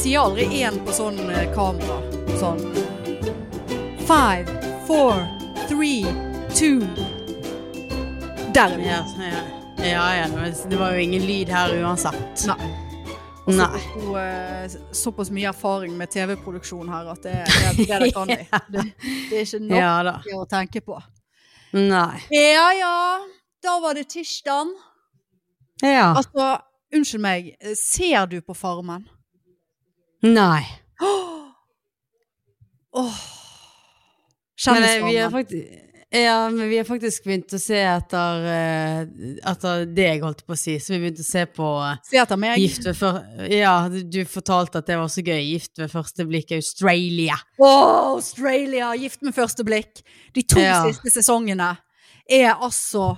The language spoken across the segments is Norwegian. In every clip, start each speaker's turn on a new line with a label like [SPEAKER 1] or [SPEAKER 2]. [SPEAKER 1] én på sånn eh, kamera. Sånn. Five, four, three, two. Der er vi.
[SPEAKER 2] Ja, ja. ja, ja det var- det var jo ingen lyd her uansett.
[SPEAKER 1] Nei.
[SPEAKER 2] Nei.
[SPEAKER 1] Og, eh, såpass mye erfaring med TV-produksjon her at det, det, det, det kan vi. Det, det er ikke nok
[SPEAKER 2] Ja da.
[SPEAKER 1] å tenke på.
[SPEAKER 2] Nei.
[SPEAKER 1] Ja ja, da var det tirsdag.
[SPEAKER 2] Ja.
[SPEAKER 1] Altså, unnskyld meg, ser du på Farmen?
[SPEAKER 2] Nei.
[SPEAKER 1] Åh.
[SPEAKER 2] Men eh, vi har
[SPEAKER 1] Kjendisfarmen.
[SPEAKER 2] faktisk ja, men vi har faktisk begynt å se etter, eh, etter deg, holdt jeg på å si. Så vi begynte å se på eh,
[SPEAKER 1] Se etter meg.
[SPEAKER 2] Gift ved før... Ja, du- du fortalte at det var så gøy. Gift ved første blikk Australia.
[SPEAKER 1] Åh, Australia! Gift med første blikk. De to
[SPEAKER 2] Ja.
[SPEAKER 1] siste sesongene er altså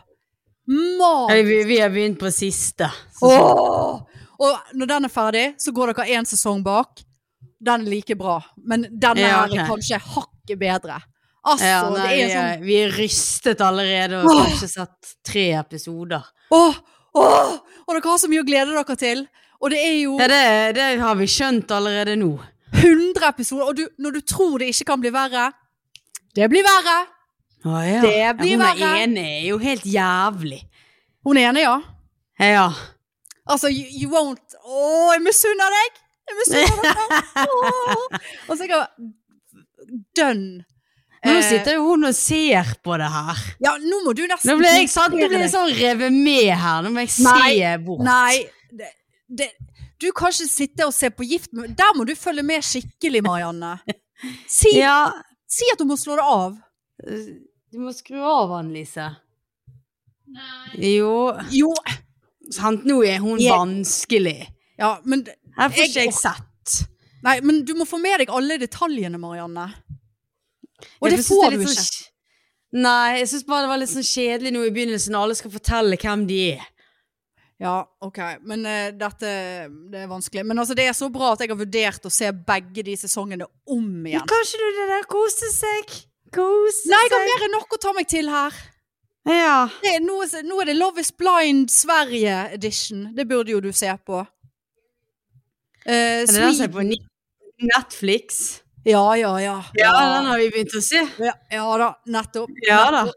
[SPEAKER 2] Ja,
[SPEAKER 1] magisk.
[SPEAKER 2] vi, vi har begynt på siste. Så,
[SPEAKER 1] Åh! Og når den er ferdig, så går dere én sesong bak. Den er like bra, men denne
[SPEAKER 2] Ja,
[SPEAKER 1] her
[SPEAKER 2] ok.
[SPEAKER 1] er kanskje hakket bedre. Altså,
[SPEAKER 2] ja, nei,
[SPEAKER 1] det
[SPEAKER 2] vi,
[SPEAKER 1] er
[SPEAKER 2] er,
[SPEAKER 1] sånn
[SPEAKER 2] vi er rystet allerede og har ikke sett tre episoder.
[SPEAKER 1] Åh! Åh! Og dere har så mye å glede dere til. Og det er jo
[SPEAKER 2] Ja, det, det har vi skjønt allerede nå.
[SPEAKER 1] 100 episoder, og du, når du tror det ikke kan bli verre Det blir verre!
[SPEAKER 2] Å, ja.
[SPEAKER 1] Det blir
[SPEAKER 2] ja, Hun
[SPEAKER 1] verre.
[SPEAKER 2] er ene er jo helt jævlig.
[SPEAKER 1] Hun er enig, ja?
[SPEAKER 2] Ja.
[SPEAKER 1] Altså, you, you won't Åh, jeg misunner deg! Jeg misunner deg! Åh. Og så er jeg dønn.
[SPEAKER 2] Men nå
[SPEAKER 1] Eh,
[SPEAKER 2] sitter jo hun og ser på det her.
[SPEAKER 1] Ja, nå må du nesten
[SPEAKER 2] Nå ble jeg, sant, nå
[SPEAKER 1] konsentrere
[SPEAKER 2] ble
[SPEAKER 1] deg.
[SPEAKER 2] jeg sånn revet med her. Nå må jeg se
[SPEAKER 1] Nei,
[SPEAKER 2] bort.
[SPEAKER 1] Nei, det, det, du kan ikke sitte og se på gift med Der må du følge med skikkelig, Marianne. Si,
[SPEAKER 2] Ja,
[SPEAKER 1] si at du må slå det av.
[SPEAKER 2] du må skru av han, Lise. Nei. Jo.
[SPEAKER 1] Jo,
[SPEAKER 2] Sant, nå er hun
[SPEAKER 1] Jeg-
[SPEAKER 2] vanskelig.
[SPEAKER 1] ja, men
[SPEAKER 2] Her får
[SPEAKER 1] Jeg-
[SPEAKER 2] ikke jeg sett.
[SPEAKER 1] Nei, men du må få med deg alle detaljene, Marianne. Og
[SPEAKER 2] Jeg
[SPEAKER 1] det
[SPEAKER 2] synes
[SPEAKER 1] får
[SPEAKER 2] er
[SPEAKER 1] du
[SPEAKER 2] litt
[SPEAKER 1] ikke.
[SPEAKER 2] sånn kj- Nei, jeg syns bare det var litt sånn kjedelig nå i begynnelsen, når alle skal fortelle hvem de er.
[SPEAKER 1] Ja, OK. Men eh, dette det er vanskelig. Men altså, det er så bra at jeg har vurdert å se begge de sesongene om igjen.
[SPEAKER 2] Kanskje du det der kose seg? Kose
[SPEAKER 1] Nei, jeg har mer enn nok å ta meg til her.
[SPEAKER 2] Ja.
[SPEAKER 1] Det, er- nå, er- nå er det Love is blind Sverige edition. Det burde jo du se på. Eh,
[SPEAKER 2] Er det den som er
[SPEAKER 1] Sweden-
[SPEAKER 2] på ni- Netflix?
[SPEAKER 1] Ja, ja, ja.
[SPEAKER 2] Ja, den har vi begynt å se.
[SPEAKER 1] ja, ja da, nettopp.
[SPEAKER 2] Ja da.
[SPEAKER 1] Nettopp.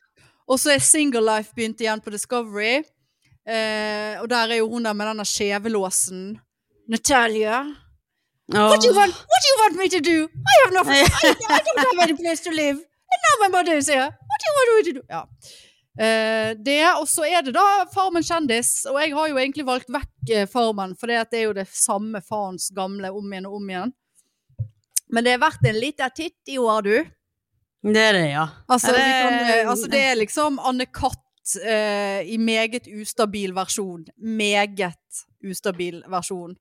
[SPEAKER 1] Og så er Single Life begynt igjen på Discovery. Eh, og der er jo hun der med denne skjevelåsen. Natalia. What do, you want, what do you want me to do? I have nothing. I, I don't have any place to live. And now my mother is here. What do you want me to do? Ja. Eh, det, og så er det da Farmen kjendis. Og jeg har jo egentlig valgt vekk eh, Farmen, for det, at det er jo det samme faens gamle om igjen og om igjen. Men det er verdt en liten titt i år, du.
[SPEAKER 2] Det er det, ja.
[SPEAKER 1] Altså,
[SPEAKER 2] Er
[SPEAKER 1] det...
[SPEAKER 2] det-
[SPEAKER 1] Vi kan, eh, altså det er liksom Anne Katt eh, i meget ustabil versjon. Meget ustabil versjon.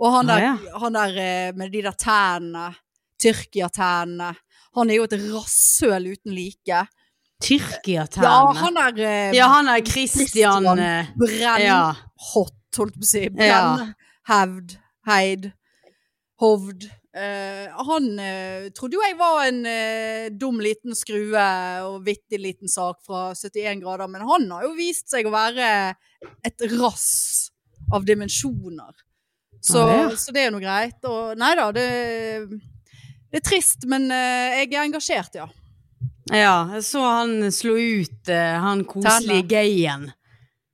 [SPEAKER 1] Og han
[SPEAKER 2] Ja,
[SPEAKER 1] der, han der eh, med de der tærne, Tyrkia-tærne, han er jo et rasshøl uten like. Ja,
[SPEAKER 2] Tyrkia-tærne.
[SPEAKER 1] han er eh,
[SPEAKER 2] Ja, han er Christian
[SPEAKER 1] Christian.
[SPEAKER 2] eh,
[SPEAKER 1] brenn
[SPEAKER 2] Ja.
[SPEAKER 1] hot, holdt på å si.
[SPEAKER 2] Ja.
[SPEAKER 1] Brenn, hevd, heid, hovd. Eh, han eh, trodde jo jeg var en eh, dum liten skrue og vittig liten sak fra 71 grader, men han har jo vist seg å være et rass av dimensjoner. Så,
[SPEAKER 2] Ja, ja.
[SPEAKER 1] så det er nå greit. Og nei da, det, det er trist, men eh, jeg er engasjert, ja.
[SPEAKER 2] Ja, jeg så han slo ut eh, han koselige
[SPEAKER 1] Tærne.
[SPEAKER 2] gayen.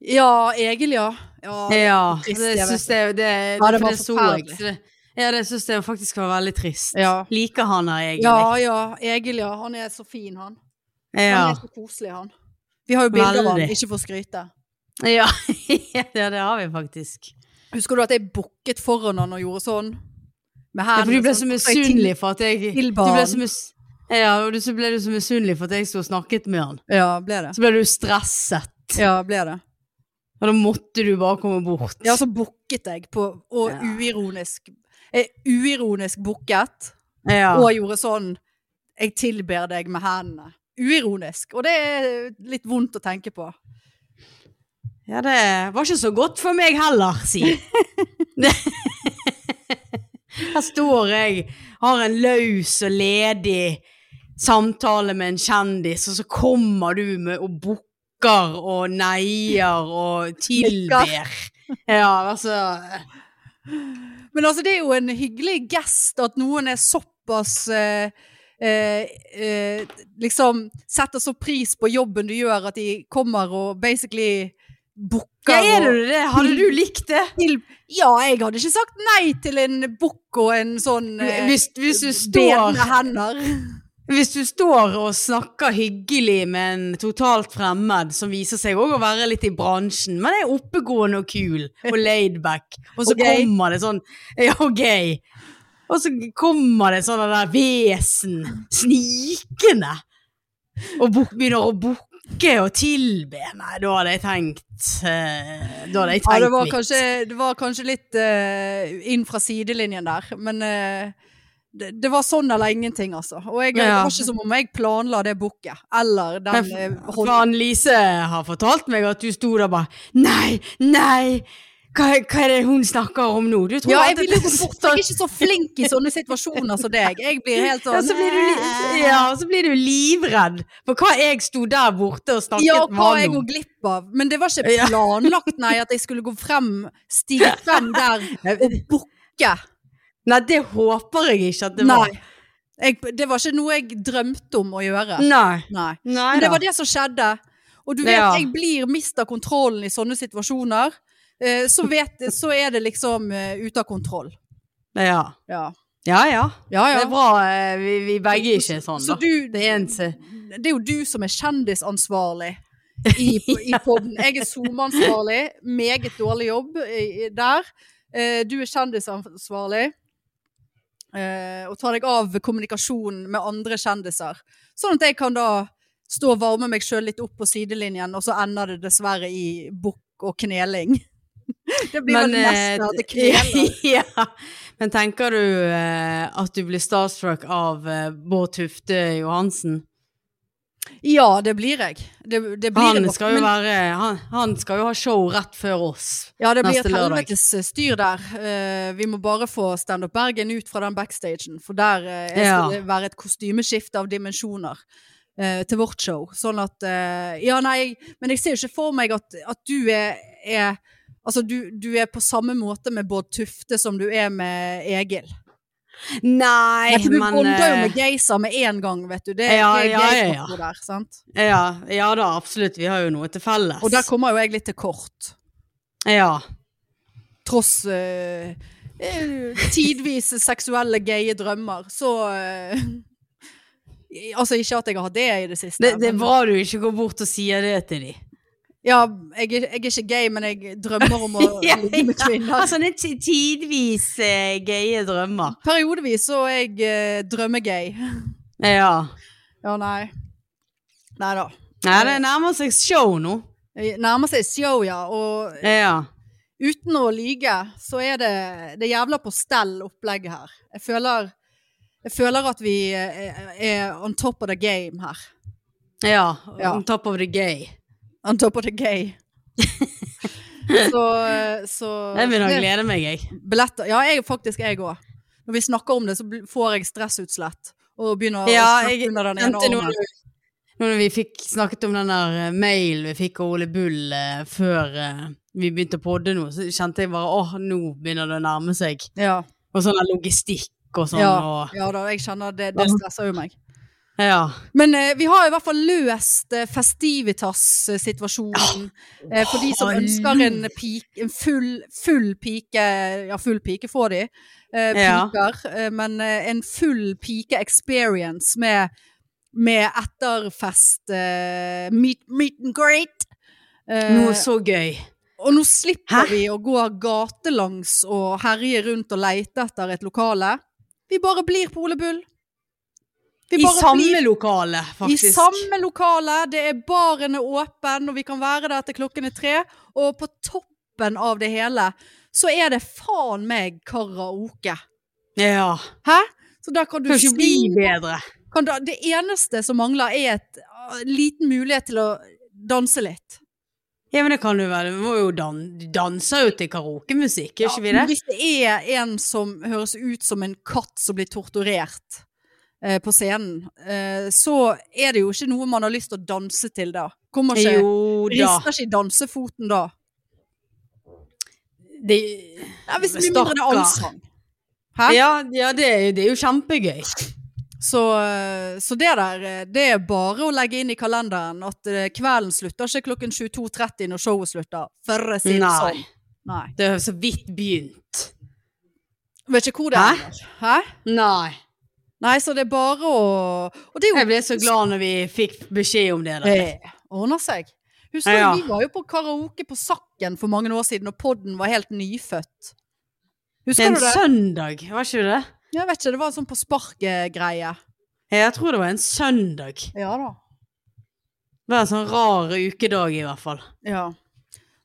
[SPEAKER 1] Ja, Egil, ja. Ja,
[SPEAKER 2] Ja,
[SPEAKER 1] trist,
[SPEAKER 2] det
[SPEAKER 1] jeg
[SPEAKER 2] syns jeg det, det,
[SPEAKER 1] Ja, det
[SPEAKER 2] for
[SPEAKER 1] var
[SPEAKER 2] det så
[SPEAKER 1] forferdelig.
[SPEAKER 2] jeg. Så det- Ja, det syns jeg faktisk var veldig trist.
[SPEAKER 1] Ja.
[SPEAKER 2] Liker han her egentlig.
[SPEAKER 1] ja, ja. Egil, ja. Han er så fin, han. Han
[SPEAKER 2] Ja.
[SPEAKER 1] er så koselig, han. Vi har jo bilder av han,
[SPEAKER 2] Veldig.
[SPEAKER 1] ikke for å skryte.
[SPEAKER 2] Ja. ja, det har vi faktisk.
[SPEAKER 1] Husker du at jeg bukket foran han og gjorde sånn? Med
[SPEAKER 2] Ja, for
[SPEAKER 1] hendene
[SPEAKER 2] du ble
[SPEAKER 1] sånn,
[SPEAKER 2] så
[SPEAKER 1] jeg til-
[SPEAKER 2] misunnelig for at jeg
[SPEAKER 1] til
[SPEAKER 2] du ble
[SPEAKER 1] barn.
[SPEAKER 2] så mis, Ja, og du- så ble du så misunnelig for at jeg sto og snakket med han.
[SPEAKER 1] Ja, ble det.
[SPEAKER 2] Så ble du stresset.
[SPEAKER 1] Ja, ble det.
[SPEAKER 2] Og da måtte du bare komme bort.
[SPEAKER 1] Ja, så bukket jeg på, og
[SPEAKER 2] Ja.
[SPEAKER 1] uironisk jeg Uironisk bukket,
[SPEAKER 2] Ja.
[SPEAKER 1] og gjorde sånn Jeg tilber deg med hendene. Uironisk. Og det er litt vondt å tenke på.
[SPEAKER 2] ja, det var ikke så godt for meg heller, si. Her står jeg, har en løs og ledig samtale med en kjendis, og så kommer du med og bukker og neier og tilber. Ja, altså
[SPEAKER 1] Men altså, det er jo en hyggelig gest at noen er såpass eh, eh, eh, Liksom setter så pris på jobben du gjør, at de kommer og basically booker
[SPEAKER 2] Ja, er
[SPEAKER 1] og-
[SPEAKER 2] det det? Hadde du likt det?
[SPEAKER 1] til Ja, jeg hadde ikke sagt nei til en bukk og en sånn eh,
[SPEAKER 2] Hvis, hvis du står
[SPEAKER 1] bedende hender.
[SPEAKER 2] Hvis du står og snakker hyggelig med en totalt fremmed som viser seg også å være litt i bransjen, men er oppegående og kul og laidback, og så
[SPEAKER 1] Og gay.
[SPEAKER 2] kommer det sånn Ja, og gay. Og så kommer det sånn der vesen snikende og buk- begynner å bukke og tilbe. Nei, da hadde jeg tenkt eh, Da hadde jeg tenkt
[SPEAKER 1] Ja, det var
[SPEAKER 2] mitt.
[SPEAKER 1] kanskje, det var kanskje litt eh, inn fra sidelinjen der, men eh, det, det var sånn eller ingenting, altså. Og jeg, det
[SPEAKER 2] Ja.
[SPEAKER 1] var ikke som om jeg planla det bukket, eller den
[SPEAKER 2] Men
[SPEAKER 1] eh,
[SPEAKER 2] f-
[SPEAKER 1] hånden.
[SPEAKER 2] faen, Lise har fortalt meg at du sto der og bare Nei, nei! Hva, hva er det hun snakker om nå? Du tror
[SPEAKER 1] Ja, jeg
[SPEAKER 2] alltid
[SPEAKER 1] vil jo
[SPEAKER 2] at
[SPEAKER 1] gå
[SPEAKER 2] det-
[SPEAKER 1] bort. Jeg er ikke så flink i sånne situasjoner som deg. Jeg blir helt
[SPEAKER 2] ja,
[SPEAKER 1] sånn
[SPEAKER 2] så blir du, li- ja, så blir du livredd for hva jeg sto der borte og snakket
[SPEAKER 1] Ja, og
[SPEAKER 2] med
[SPEAKER 1] hva jeg
[SPEAKER 2] han
[SPEAKER 1] går
[SPEAKER 2] om.
[SPEAKER 1] glipp av. Men det var
[SPEAKER 2] Ja.
[SPEAKER 1] ikke planlagt, nei, at jeg skulle gå frem, stige frem der og bukke.
[SPEAKER 2] Eh, Nei, det håper jeg ikke at det var.
[SPEAKER 1] Nei. Jeg, det var ikke noe jeg drømte om å gjøre.
[SPEAKER 2] Nei.
[SPEAKER 1] Nei.
[SPEAKER 2] Nei
[SPEAKER 1] Men
[SPEAKER 2] da.
[SPEAKER 1] det var det som skjedde. Og du vet,
[SPEAKER 2] Ja.
[SPEAKER 1] jeg blir mista kontrollen i sånne situasjoner. Eh, Så, vet, så er det liksom eh, ute av kontroll.
[SPEAKER 2] Ja.
[SPEAKER 1] Ja.
[SPEAKER 2] Ja, ja.
[SPEAKER 1] Ja, ja.
[SPEAKER 2] Det er bra eh, vi, vi begge ikke er sånn, da.
[SPEAKER 1] Så du,
[SPEAKER 2] Det er en se-
[SPEAKER 1] det er jo du som er kjendisansvarlig i, i podden. Jeg er SoMe-ansvarlig. Meget dårlig jobb i- i- der. Eh, Du er kjendisansvarlig. eh, Og tar deg av kommunikasjonen med andre kjendiser. Sånn at jeg kan da stå og varme meg sjøl litt opp på sidelinjen, og så ender det dessverre i bukk og kneling. Det blir vel nesten at det kneler.
[SPEAKER 2] eh, ja. Men tenker du eh, at du blir starstruck av eh, Bård Tufte Johansen?
[SPEAKER 1] Ja, det blir jeg. Det, det blir jeg
[SPEAKER 2] Han
[SPEAKER 1] nok,
[SPEAKER 2] skal, jo
[SPEAKER 1] men-
[SPEAKER 2] være, han, han skal jo ha show rett før oss.
[SPEAKER 1] Ja, det blir
[SPEAKER 2] neste
[SPEAKER 1] et
[SPEAKER 2] lørdag.
[SPEAKER 1] helvetes styr der. Eh, vi må bare få Stand Up Bergen ut fra den backstagen, for der eh, skal
[SPEAKER 2] Ja.
[SPEAKER 1] det være et kostymeskifte av dimensjoner. eh, til vårt show. Sånn at eh, Ja, nei, men jeg ser jo ikke for meg at, at du er, er Altså, du, du er på samme måte med Bård Tufte som du er med Egil.
[SPEAKER 2] Nei,
[SPEAKER 1] Nei, for du
[SPEAKER 2] men
[SPEAKER 1] bonder jo
[SPEAKER 2] eh,
[SPEAKER 1] med Geysir med en gang, vet du. Det,
[SPEAKER 2] Ja,
[SPEAKER 1] det
[SPEAKER 2] ja,
[SPEAKER 1] er
[SPEAKER 2] ja,
[SPEAKER 1] Geysir der, sant?
[SPEAKER 2] eh, ja, ja da, absolutt. Vi har jo noe til felles.
[SPEAKER 1] Og der kommer jo jeg litt til kort.
[SPEAKER 2] ja.
[SPEAKER 1] tross eh, eh, tidvis seksuelle gaye drømmer, så eh, Altså, ikke at jeg har hatt det i det siste.
[SPEAKER 2] det, det er
[SPEAKER 1] men-
[SPEAKER 2] bra du ikke går bort og sier det til dem.
[SPEAKER 1] Ja, jeg, er- jeg er ikke gay, men jeg drømmer om å ligge med kvinner.
[SPEAKER 2] Altså, det er ti- tidvis eh, gaye drømmer.
[SPEAKER 1] Periodevis så er jeg eh, drømmegay.
[SPEAKER 2] Ja.
[SPEAKER 1] Ja, nei. Nei da.
[SPEAKER 2] Nei, det nærmer seg show nå.
[SPEAKER 1] Nærmer seg show, ja. Og
[SPEAKER 2] Ja.
[SPEAKER 1] uten å lyge, så er det, det jævla på stell opplegget her. Jeg føler, jeg føler at vi eh, er on top of the game her.
[SPEAKER 2] Ja,
[SPEAKER 1] Ja.
[SPEAKER 2] on top of the gay.
[SPEAKER 1] On top of the gay. så, eh, så
[SPEAKER 2] Jeg begynner å
[SPEAKER 1] det-
[SPEAKER 2] glede meg, jeg.
[SPEAKER 1] Billetter. Ja, jeg, faktisk jeg òg. Når vi snakker om det, så bl- får jeg stressutslett. Og begynner å
[SPEAKER 2] Ja, jeg
[SPEAKER 1] snakke under den ene
[SPEAKER 2] kjente noe nå
[SPEAKER 1] armen.
[SPEAKER 2] når vi fikk snakket om den der eh, mailen vi fikk av Ole Bull eh, før eh, vi begynte å podde nå, så kjente jeg bare åh, nå begynner det å nærme seg.
[SPEAKER 1] Ja,
[SPEAKER 2] Og sånn der logistikk og sånn.
[SPEAKER 1] ja,
[SPEAKER 2] Og,
[SPEAKER 1] ja da, jeg kjenner det, det stresser jo meg.
[SPEAKER 2] ja.
[SPEAKER 1] Men eh, vi har i hvert fall løst eh, Festivitas-situasjonen.
[SPEAKER 2] Ah,
[SPEAKER 1] Eh, for de som
[SPEAKER 2] Hallo.
[SPEAKER 1] ønsker en, pik, en full, full pike Ja, full pike får de. Eh,
[SPEAKER 2] Ja.
[SPEAKER 1] piker. Eh, men eh, en full pike-experience med, med etterfest, eh, meet, meet and greet. Eh,
[SPEAKER 2] Noe så gøy.
[SPEAKER 1] og nå slipper
[SPEAKER 2] Hæ?
[SPEAKER 1] vi å gå gatelangs og herje rundt og leite etter et lokale. Vi bare blir på Ole Bull. Vi
[SPEAKER 2] I
[SPEAKER 1] bare blir-
[SPEAKER 2] samme lokale, faktisk.
[SPEAKER 1] i samme lokale, det er baren er åpen, og vi kan være der til klokken er tre. Og på toppen av det hele, så er det faen meg karaoke.
[SPEAKER 2] Ja.
[SPEAKER 1] Hæ? Så der kan du
[SPEAKER 2] Det kan ikke bli
[SPEAKER 1] svinge.
[SPEAKER 2] bedre.
[SPEAKER 1] Kan da, det eneste som mangler, er et ah, liten mulighet til å danse litt.
[SPEAKER 2] Ja, men det kan du vel. Du må jo dan danse jo til karaokemusikk, gjør ikke vi det?
[SPEAKER 1] Hvis det er en som høres ut som en katt som blir torturert eh, på scenen, eh, så er det jo ikke noe man har lyst til å danse til da. Kommer ikke,
[SPEAKER 2] Jo da.
[SPEAKER 1] rister ikke dansefoten da.
[SPEAKER 2] det,
[SPEAKER 1] Ja, hvis det blir mindre det er
[SPEAKER 2] Stakkar.
[SPEAKER 1] allsang. Hæ?
[SPEAKER 2] ja, ja det, er- det er jo kjempegøy.
[SPEAKER 1] Så, eh, så det der, eh, det er bare å legge inn i kalenderen at eh, kvelden slutter ikke klokken 22.30 når showet slutter. For å si det
[SPEAKER 2] Nei.
[SPEAKER 1] sånn. Nei.
[SPEAKER 2] Det har så vidt begynt.
[SPEAKER 1] Vet ikke hvor det
[SPEAKER 2] Hæ?
[SPEAKER 1] er. Hæ?
[SPEAKER 2] Nei.
[SPEAKER 1] Nei, så det er bare å Og det er jo
[SPEAKER 2] Jeg ble så glad når vi fikk beskjed om det. Der.
[SPEAKER 1] Det ordner seg. Husker du,
[SPEAKER 2] Ja, ja.
[SPEAKER 1] vi var jo på karaoke på Sakken for mange år siden, og podden var helt nyfødt.
[SPEAKER 2] Det er
[SPEAKER 1] Husker
[SPEAKER 2] en
[SPEAKER 1] du det?
[SPEAKER 2] søndag, var ikke det?
[SPEAKER 1] Jeg vet ikke, det var en sånn på sparket-greie.
[SPEAKER 2] Jeg tror det var en søndag.
[SPEAKER 1] Ja da.
[SPEAKER 2] Det var en sånn rar ukedag i hvert fall.
[SPEAKER 1] Ja.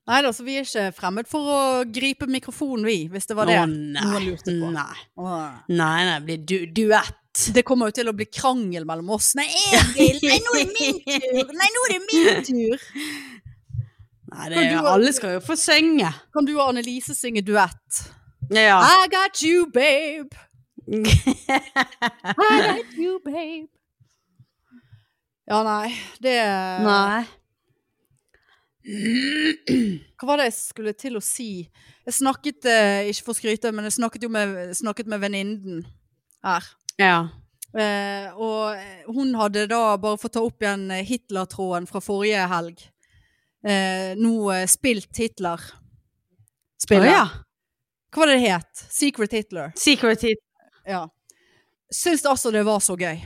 [SPEAKER 1] Nei da, så vi er ikke fremmed for å gripe mikrofonen, vi, hvis det var det
[SPEAKER 2] Å, nei.
[SPEAKER 1] noen lurte på.
[SPEAKER 2] Nei,
[SPEAKER 1] Åh.
[SPEAKER 2] nei, nei det blir du duett.
[SPEAKER 1] Det kommer jo til å bli krangel mellom oss. Nei, jeg vil! Nei, nå er det min tur! Nei, nå er det min tur!
[SPEAKER 2] Nei, det er,
[SPEAKER 1] Men
[SPEAKER 2] jo-
[SPEAKER 1] du-
[SPEAKER 2] alle skal jo få synge.
[SPEAKER 1] Kan du og Annelise synge duett?
[SPEAKER 2] Ja.
[SPEAKER 1] I got you, babe! I like you, babe. Ja, nei, det
[SPEAKER 2] Nei.
[SPEAKER 1] Hva var det jeg skulle til å si? Jeg snakket, eh, ikke for å skryte, men jeg snakket jo med, snakket med venninnen her.
[SPEAKER 2] Ja.
[SPEAKER 1] Eh, og eh, hun hadde da, bare for å ta opp igjen eh, Hitler-tråden fra forrige helg, eh, nå eh, spilt Hitler.
[SPEAKER 2] Å,
[SPEAKER 1] Spiller.
[SPEAKER 2] ja.
[SPEAKER 1] Hva var det det het? Secret Hitler.
[SPEAKER 2] Secret hit.
[SPEAKER 1] Ja. Syns altså det var så gøy.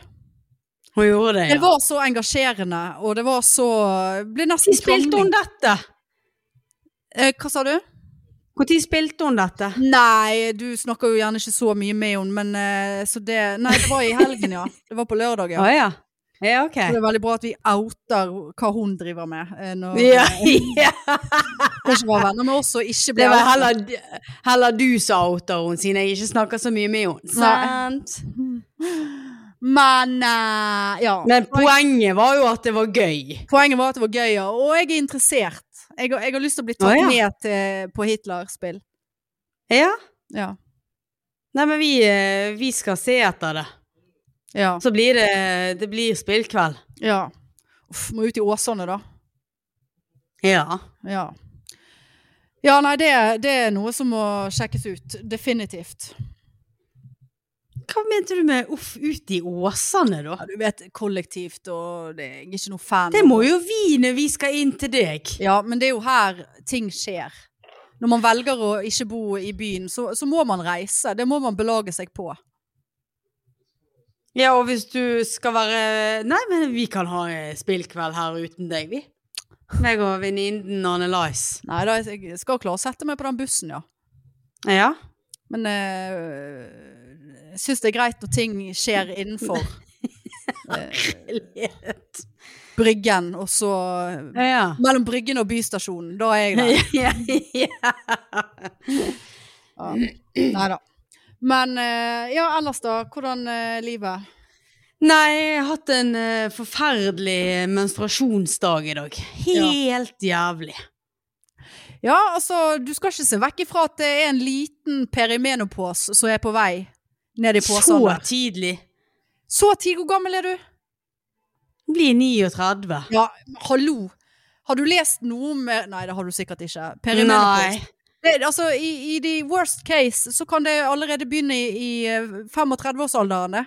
[SPEAKER 2] Hun gjorde det,
[SPEAKER 1] Det
[SPEAKER 2] ja.
[SPEAKER 1] var så engasjerende, og det var så eh, Ble nesten
[SPEAKER 2] Når spilte hun dette?
[SPEAKER 1] Eh, hva sa du?
[SPEAKER 2] Når spilte hun dette?
[SPEAKER 1] Nei, du snakker jo gjerne ikke så mye med henne, men eh, så det Nei, det var i helgen, ja. Det var på lørdag,
[SPEAKER 2] Å
[SPEAKER 1] ja.
[SPEAKER 2] ja. Ja, ok.
[SPEAKER 1] Så det er veldig bra at vi outer hva hun driver med. eh, Når
[SPEAKER 2] Ja, ja.
[SPEAKER 1] hun ikke var venner med oss og ikke ble
[SPEAKER 2] Det var
[SPEAKER 1] outet.
[SPEAKER 2] heller, heller du som outer henne, siden jeg ikke snakker så mye med henne.
[SPEAKER 1] Nei.
[SPEAKER 2] Sant?
[SPEAKER 1] Men eh, ja.
[SPEAKER 2] Men poenget var jo at det var gøy.
[SPEAKER 1] Poenget var at det var gøy, ja. Og jeg er interessert. Jeg, har- jeg har lyst til å bli tatt
[SPEAKER 2] Å, ja.
[SPEAKER 1] med til, på Hitler-spill.
[SPEAKER 2] Ja.
[SPEAKER 1] Ja.
[SPEAKER 2] Nei, men vi, eh, vi skal se etter det.
[SPEAKER 1] ja.
[SPEAKER 2] Så blir det, det blir spillkveld.
[SPEAKER 1] ja. Uff, må ut i Åsane, da.
[SPEAKER 2] Ja.
[SPEAKER 1] Ja. Ja, nei, det, det er noe som må sjekkes ut. Definitivt.
[SPEAKER 2] Hva mente du med uff, ut i åsene, da?
[SPEAKER 1] Ja, du vet, kollektivt, og det, jeg er ikke noe fan.
[SPEAKER 2] Det må jo vi når vi skal inn til deg.
[SPEAKER 1] Ja, men det er jo her ting skjer. Når man velger å ikke bo i byen, så, så må man reise. Det må man belage seg på.
[SPEAKER 2] Ja, og hvis du skal være Nei, men vi kan ha eh, spillkveld her uten deg, vi. Meg og venninnen Anne Lice.
[SPEAKER 1] Nei, da, jeg skal klare å sette meg på den bussen, ja.
[SPEAKER 2] Ja.
[SPEAKER 1] Men eh, jeg syns det er greit når ting skjer innenfor
[SPEAKER 2] Eh.
[SPEAKER 1] Bryggen, og så
[SPEAKER 2] Ja.
[SPEAKER 1] Mellom Bryggen og Bystasjonen. Da er jeg der.
[SPEAKER 2] ja, ja.
[SPEAKER 1] Ja. Nei da. Men eh, ja, ellers da? Hvordan eh, livet?
[SPEAKER 2] Nei, jeg har hatt en eh, forferdelig menstruasjonsdag i dag. Helt jævlig.
[SPEAKER 1] Ja, altså, du skal ikke se vekk ifra at det er en liten perimenopause som er på vei ned i
[SPEAKER 2] Så
[SPEAKER 1] posen. Så,
[SPEAKER 2] tidlig.
[SPEAKER 1] så tidlig, hvor gammel er du?
[SPEAKER 2] Blir 39.
[SPEAKER 1] Ja, hallo! Har du lest noe om eh, Nei, det har du sikkert ikke.
[SPEAKER 2] Nei.
[SPEAKER 1] Perimenopause. Det, altså, i, I de worst case så kan det allerede begynne i, i 35-årsalderen. det.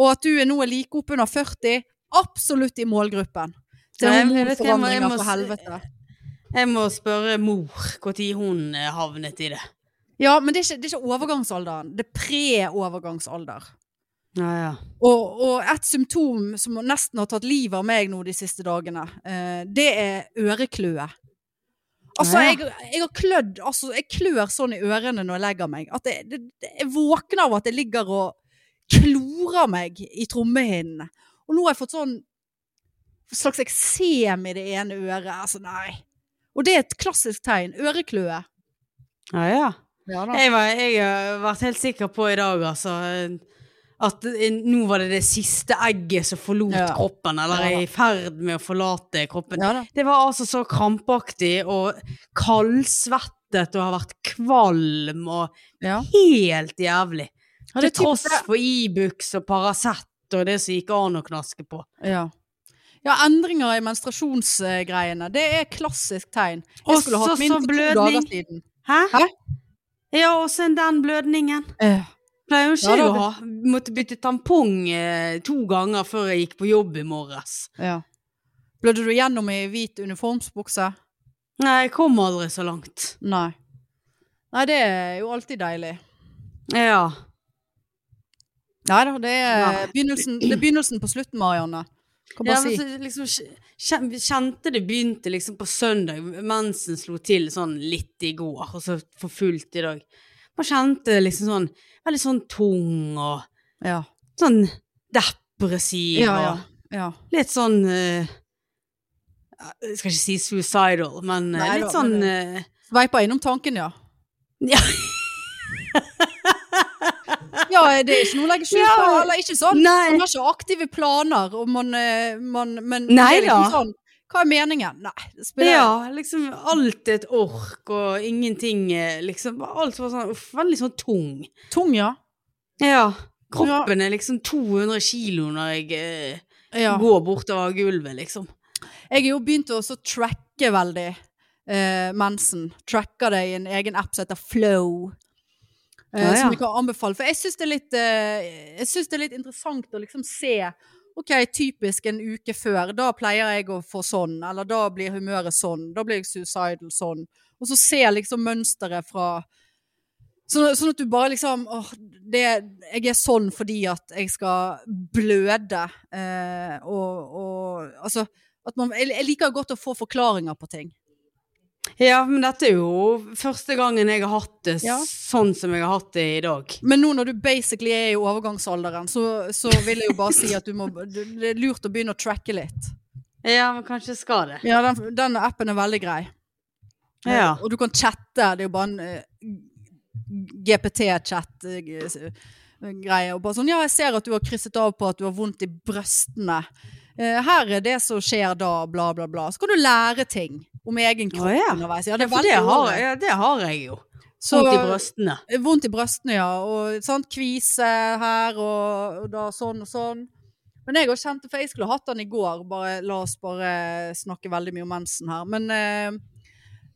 [SPEAKER 1] Og at du er nå er like oppunder 40, absolutt i målgruppen. Til
[SPEAKER 2] Nei, jeg vet ikke, jeg må- jeg
[SPEAKER 1] hormonforandringer,
[SPEAKER 2] må
[SPEAKER 1] for
[SPEAKER 2] se-
[SPEAKER 1] helvete.
[SPEAKER 2] Jeg må spørre mor når hun eh, havnet i det.
[SPEAKER 1] Ja, men det er ikke, det er ikke overgangsalderen. Det er pre-overgangsalder.
[SPEAKER 2] Ja, ja.
[SPEAKER 1] Og, og et symptom som nesten har tatt livet av meg nå de siste dagene, eh, det er ørekløe. Altså,
[SPEAKER 2] Ja.
[SPEAKER 1] jeg, jeg har klødd altså, Jeg klør sånn i ørene når jeg legger meg. At jeg, det, det, jeg våkner av at jeg ligger og klorer meg i trommehinnene. Og nå har jeg fått sånn slags eksem i det ene øret. Altså, nei. Og det er et klassisk tegn. Ørekløe. Eh,
[SPEAKER 2] ja, ja.
[SPEAKER 1] Ja da.
[SPEAKER 2] Jeg, var, jeg har vært helt sikker på i dag, altså, at eh, nå var det det siste egget som forlot
[SPEAKER 1] Ja.
[SPEAKER 2] kroppen, eller
[SPEAKER 1] Ja, da.
[SPEAKER 2] er i ferd med å forlate kroppen.
[SPEAKER 1] Ja da.
[SPEAKER 2] Det var altså så krampaktig og kaldsvettet og har vært kvalm og
[SPEAKER 1] Ja.
[SPEAKER 2] helt jævlig.
[SPEAKER 1] Ja,
[SPEAKER 2] Til
[SPEAKER 1] det er
[SPEAKER 2] tross
[SPEAKER 1] typisk det.
[SPEAKER 2] for Ibux og Paracet og det som gikk an å knaske på.
[SPEAKER 1] Ja. ja, endringer i menstruasjonsgreiene. Det er klassisk tegn. Jeg
[SPEAKER 2] Og
[SPEAKER 1] skulle
[SPEAKER 2] så-
[SPEAKER 1] hatt min
[SPEAKER 2] så
[SPEAKER 1] for to
[SPEAKER 2] blødning.
[SPEAKER 1] dager siden.
[SPEAKER 2] Hæ?
[SPEAKER 1] Hæ?
[SPEAKER 2] Ja, og så den blødningen.
[SPEAKER 1] Eh,
[SPEAKER 2] Pleier jo ikke
[SPEAKER 1] Ja,
[SPEAKER 2] jeg
[SPEAKER 1] da-
[SPEAKER 2] å ha. Måtte bytte tampong eh, to ganger før jeg gikk på jobb i morges.
[SPEAKER 1] ja. Blødde du gjennom i hvit uniformsbukse?
[SPEAKER 2] Nei, jeg kom aldri så langt.
[SPEAKER 1] Nei. Nei, det er jo alltid deilig.
[SPEAKER 2] Ja.
[SPEAKER 1] Nei da, det er,
[SPEAKER 2] Nei.
[SPEAKER 1] Begynnelsen, det er begynnelsen på slutten, Marianne. Kan
[SPEAKER 2] ja
[SPEAKER 1] bare
[SPEAKER 2] men
[SPEAKER 1] si.
[SPEAKER 2] så liksom, kjen- kjente det begynte liksom på søndag, mensen slo til sånn litt i går, og så for fullt i dag. Man kjente det liksom sånn, veldig sånn tung og
[SPEAKER 1] Ja.
[SPEAKER 2] sånn depressiv
[SPEAKER 1] Ja, ja. ja.
[SPEAKER 2] og litt sånn eh, Jeg skal ikke si suicidal, men eh,
[SPEAKER 1] Nei
[SPEAKER 2] litt
[SPEAKER 1] da,
[SPEAKER 2] sånn
[SPEAKER 1] men
[SPEAKER 2] eh,
[SPEAKER 1] Sveipa innom tanken, ja.
[SPEAKER 2] Ja.
[SPEAKER 1] ja, det er ikke noe å legge skjul på.
[SPEAKER 2] Ja.
[SPEAKER 1] Eller ikke sånn.
[SPEAKER 2] Nei.
[SPEAKER 1] Man har ikke aktive planer, og man, eh, man Men
[SPEAKER 2] Nei
[SPEAKER 1] det er liksom
[SPEAKER 2] da.
[SPEAKER 1] sånn Hva er meningen? Nei, det spiller
[SPEAKER 2] Ja, liksom alt er et ork og ingenting eh, liksom Alt var sånn uff, veldig sånn tung.
[SPEAKER 1] Tung, ja.
[SPEAKER 2] Ja. Kroppen er liksom 200 kilo når jeg eh,
[SPEAKER 1] ja.
[SPEAKER 2] går bortover gulvet, liksom.
[SPEAKER 1] Jeg er jo begynt å også tracke veldig eh, mensen. Tracker det i en egen app som heter Flow. Eh,
[SPEAKER 2] Ja, ja.
[SPEAKER 1] Som jeg kan anbefale. For jeg syns det, er litt, eh, jeg synes det er litt interessant å liksom se Ok, typisk en uke før. Da pleier jeg å få sånn. Eller da blir humøret sånn. Da blir jeg suicidal sånn. Og så ser jeg liksom mønsteret fra så, Sånn at du bare liksom åh, det, Jeg er sånn fordi at jeg skal bløde. Eh, og, og altså at man, jeg, jeg liker godt å få forklaringer på ting.
[SPEAKER 2] Ja, men dette er jo første gangen jeg har hatt det s-
[SPEAKER 1] Ja.
[SPEAKER 2] sånn som jeg har hatt det i dag.
[SPEAKER 1] Men nå når du basically er i overgangsalderen, så, så vil jeg jo bare si at du må, du, det er lurt å begynne å tracke litt.
[SPEAKER 2] Ja, men kanskje jeg skal det.
[SPEAKER 1] Ja, den, den appen er veldig grei. Eh,
[SPEAKER 2] Ja.
[SPEAKER 1] Og du kan chatte. Det er jo bare en eh, GPT-chat-greie. Og bare sånn Ja, jeg ser at du har krysset av på at du har vondt i brøstene. Eh, her er det som skjer da, bla, bla, bla. Så kan du lære ting om egen kropp
[SPEAKER 2] Å, ja.
[SPEAKER 1] underveis. Ja,
[SPEAKER 2] Ja,
[SPEAKER 1] det er
[SPEAKER 2] for det
[SPEAKER 1] veldig
[SPEAKER 2] har,
[SPEAKER 1] ålreit.
[SPEAKER 2] ja, det har jeg jo.
[SPEAKER 1] Så-
[SPEAKER 2] Vondt Sånn i brøstene.
[SPEAKER 1] Vondt i brøstene, ja. Og sant, kvise her og, og da sånn og sånn. Men jeg har kjent det, for jeg skulle hatt den i går. Bare, la oss bare snakke veldig mye om mensen her. Men eh,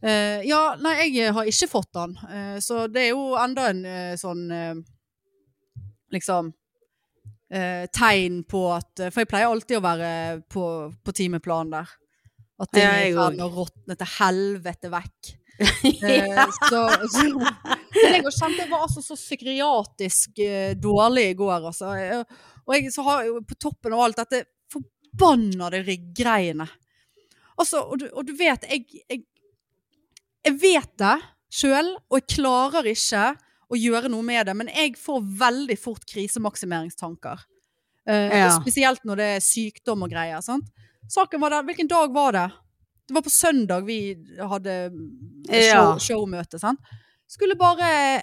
[SPEAKER 1] eh, Ja, nei, jeg har ikke fått den. Eh, så det er jo enda en eh, sånn eh, Liksom eh, tegn på at eh, For jeg pleier alltid å være på, på timeplan der. At ting
[SPEAKER 2] Ja,
[SPEAKER 1] er i
[SPEAKER 2] jeg
[SPEAKER 1] ferd med å råtne til helvete vekk. Eh, så, så Men jeg kjente jeg var altså så psykiatrisk eh, dårlig i går, altså. Jeg- Og jeg så har jo på toppen av alt dette forbannede rygggreiene. Altså, og du, og du vet, jeg, jeg Jeg vet det sjøl, og jeg klarer ikke å gjøre noe med det, men jeg får veldig fort krisemaksimeringstanker. Eh,
[SPEAKER 2] Ja.
[SPEAKER 1] og Spesielt når det er sykdom og greier. Sant? Saken var der, Hvilken dag var det? Det var på søndag vi hadde show,
[SPEAKER 2] Ja.
[SPEAKER 1] showmøte. Sant? Skulle bare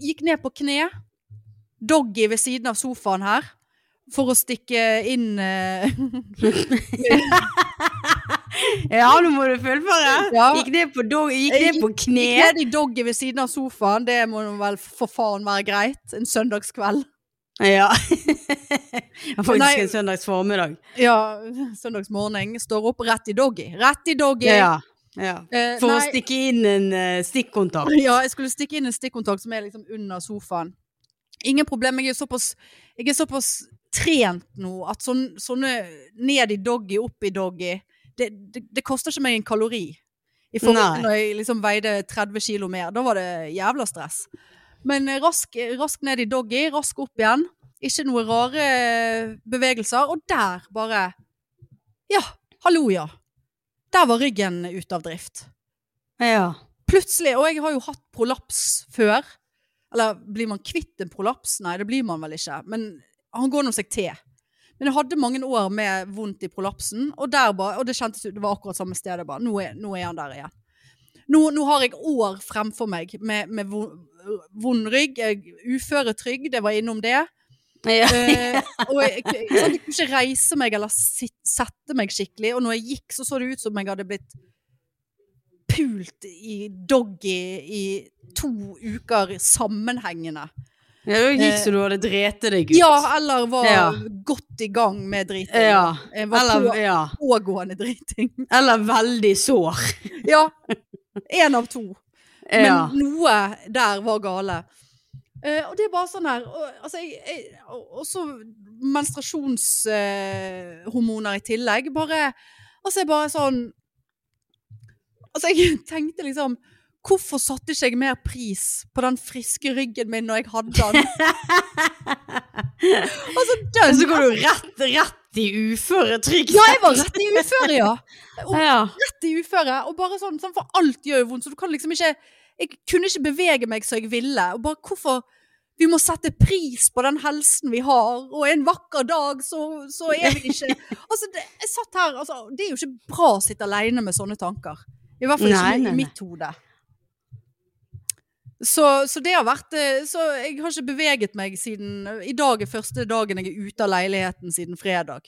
[SPEAKER 1] Gikk ned på kne. Doggy ved siden av sofaen her. For å stikke inn eh,
[SPEAKER 2] Ja, nå må du fullføre.
[SPEAKER 1] Ja.
[SPEAKER 2] Gikk ned på, do- gikk
[SPEAKER 1] Jeg
[SPEAKER 2] ned på
[SPEAKER 1] Gikk
[SPEAKER 2] kne.
[SPEAKER 1] ned i doggy ved siden av sofaen. Det må vel for faen være greit. En søndagskveld.
[SPEAKER 2] Ja. Faktisk
[SPEAKER 1] Nei.
[SPEAKER 2] en søndags formiddag.
[SPEAKER 1] Ja, søndagsmorgen. Står opp rett i doggy. Rett i doggy!
[SPEAKER 2] Ja. ja.
[SPEAKER 1] Eh,
[SPEAKER 2] For å
[SPEAKER 1] nei,
[SPEAKER 2] stikke inn en eh, stikkontakt.
[SPEAKER 1] Ja, jeg skulle stikke inn en stikkontakt som er liksom under sofaen. Ingen problem, jeg er såpass, jeg er såpass trent nå at sånn, sånne ned i doggy, opp i doggy, det, det, det koster ikke meg en kalori. I forhold
[SPEAKER 2] Nei.
[SPEAKER 1] til når jeg liksom veide 30 kilo mer, da var det jævla stress. Men eh, rask, rask ned i doggy, rask opp igjen. Ikke noe rare eh, bevegelser. Og der bare Ja, hallo, ja. Der var ryggen ute av drift
[SPEAKER 2] Ja.
[SPEAKER 1] plutselig, og jeg har jo hatt prolaps før. Eller blir man kvitt en prolaps? Nei, det blir man vel ikke. Men han går nå seg til. Men jeg hadde mange år med vondt i prolapsen, og, der bare, og det kjentes ut, det var akkurat samme sted. jeg Bare. Nå, er, nå er han der igjen. Nå, nå har jeg år fremfor meg med, med vo- vond rygg, jeg- uføretrygd, jeg var innom det.
[SPEAKER 2] ja.
[SPEAKER 1] Eh, og jeg, jeg, jeg, sant, jeg kunne ikke reise meg eller sit, sette meg skikkelig, og når jeg gikk, så så det ut som jeg hadde blitt pult i doggy i to uker sammenhengende.
[SPEAKER 2] Ja, det gikk
[SPEAKER 1] Eh,
[SPEAKER 2] så du hadde drete deg ut.
[SPEAKER 1] Ja, eller var
[SPEAKER 2] Ja.
[SPEAKER 1] godt i gang med driting.
[SPEAKER 2] Ja.
[SPEAKER 1] Jeg var
[SPEAKER 2] Eller,
[SPEAKER 1] på,
[SPEAKER 2] ja.
[SPEAKER 1] pågående driting.
[SPEAKER 2] Eller veldig sår.
[SPEAKER 1] Ja. Én av to. Men
[SPEAKER 2] Ja.
[SPEAKER 1] noe der var gale. Eh, og det er bare sånn her og, altså, jeg, jeg, og- Også menstruasjonshormoner i tillegg. Bare Altså, jeg bare sånn Altså, jeg tenkte liksom Hvorfor satte ikke jeg mer pris på den friske ryggen min når jeg hadde den? altså,
[SPEAKER 2] Og
[SPEAKER 1] dønn!
[SPEAKER 2] så går du rett, rett i uføretrygd.
[SPEAKER 1] Ja, jeg var rett i uføre, ja. Og
[SPEAKER 2] ja.
[SPEAKER 1] rett i uføre. Og bare sånn, sånn For alt gjør jo vondt, så du kan liksom ikke Jeg kunne ikke bevege meg så jeg ville. Og bare hvorfor Vi må sette pris på den helsen vi har, og en vakker dag så, så er vi ikke Altså, det, jeg satt her altså, Det er jo ikke bra å sitte aleine med sånne tanker. I hvert fall ikke
[SPEAKER 2] Nei,
[SPEAKER 1] i-
[SPEAKER 2] nei, nei.
[SPEAKER 1] i mitt hode. Så, så det har vært eh, Så jeg har ikke beveget meg siden I dag er første dagen jeg er ute av leiligheten siden fredag.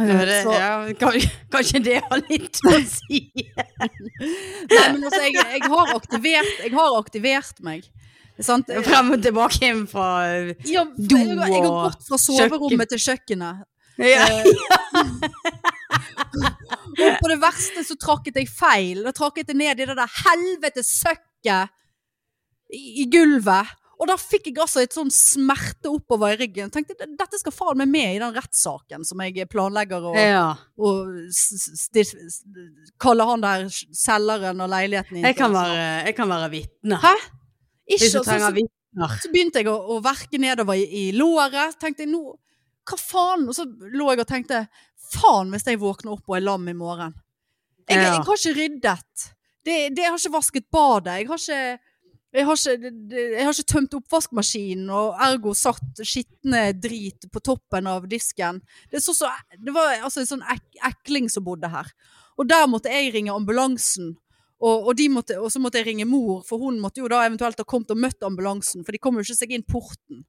[SPEAKER 1] Eh,
[SPEAKER 2] Ja, det,
[SPEAKER 1] Så-
[SPEAKER 2] ja, kan, kanskje det har litt å si.
[SPEAKER 1] Nei, men altså, jeg, jeg, har aktivert, jeg har aktivert meg. Sant? Jeg,
[SPEAKER 2] Frem og tilbake hjem fra eh,
[SPEAKER 1] jeg, jeg har gått fra soverommet til kjøkkenet.
[SPEAKER 2] ja.
[SPEAKER 1] Eh, og på det verste så trakket jeg feil. Da trakket jeg ned i det der helvete søkket i, i gulvet. Og da fikk jeg altså et sånn smerte oppover i ryggen. Tenkte, Dette skal faen meg med i den rettssaken som jeg planlegger å
[SPEAKER 2] ja.
[SPEAKER 1] å s- s- stif- s- kalle han der selgeren og leiligheten inn
[SPEAKER 2] Jeg kan
[SPEAKER 1] til.
[SPEAKER 2] være, jeg kan være vitne.
[SPEAKER 1] Hæ?
[SPEAKER 2] Hvis
[SPEAKER 1] Ikke,
[SPEAKER 2] du
[SPEAKER 1] altså, så-
[SPEAKER 2] trenger vitner.
[SPEAKER 1] så begynte jeg å, å verke nedover i, i låret. Tenkte jeg, nå, hva faen? Og så lå jeg og tenkte, faen hvis jeg våkner opp og er lam i morgen.
[SPEAKER 2] Ja.
[SPEAKER 1] Jeg, jeg har ikke ryddet. Det, det, jeg har ikke vasket badet. Jeg har ikke, jeg har ikke, det- det- jeg har ikke tømt oppvaskmaskinen, og ergo satt skitne drit på toppen av disken. Det, er så, så, det var altså en sånn ek, ekling som bodde her. Og der måtte jeg ringe ambulansen. Og, og, de måtte, og så måtte jeg ringe mor, for hun måtte jo da eventuelt ha kommet og møtt ambulansen. For de kom jo ikke seg inn porten.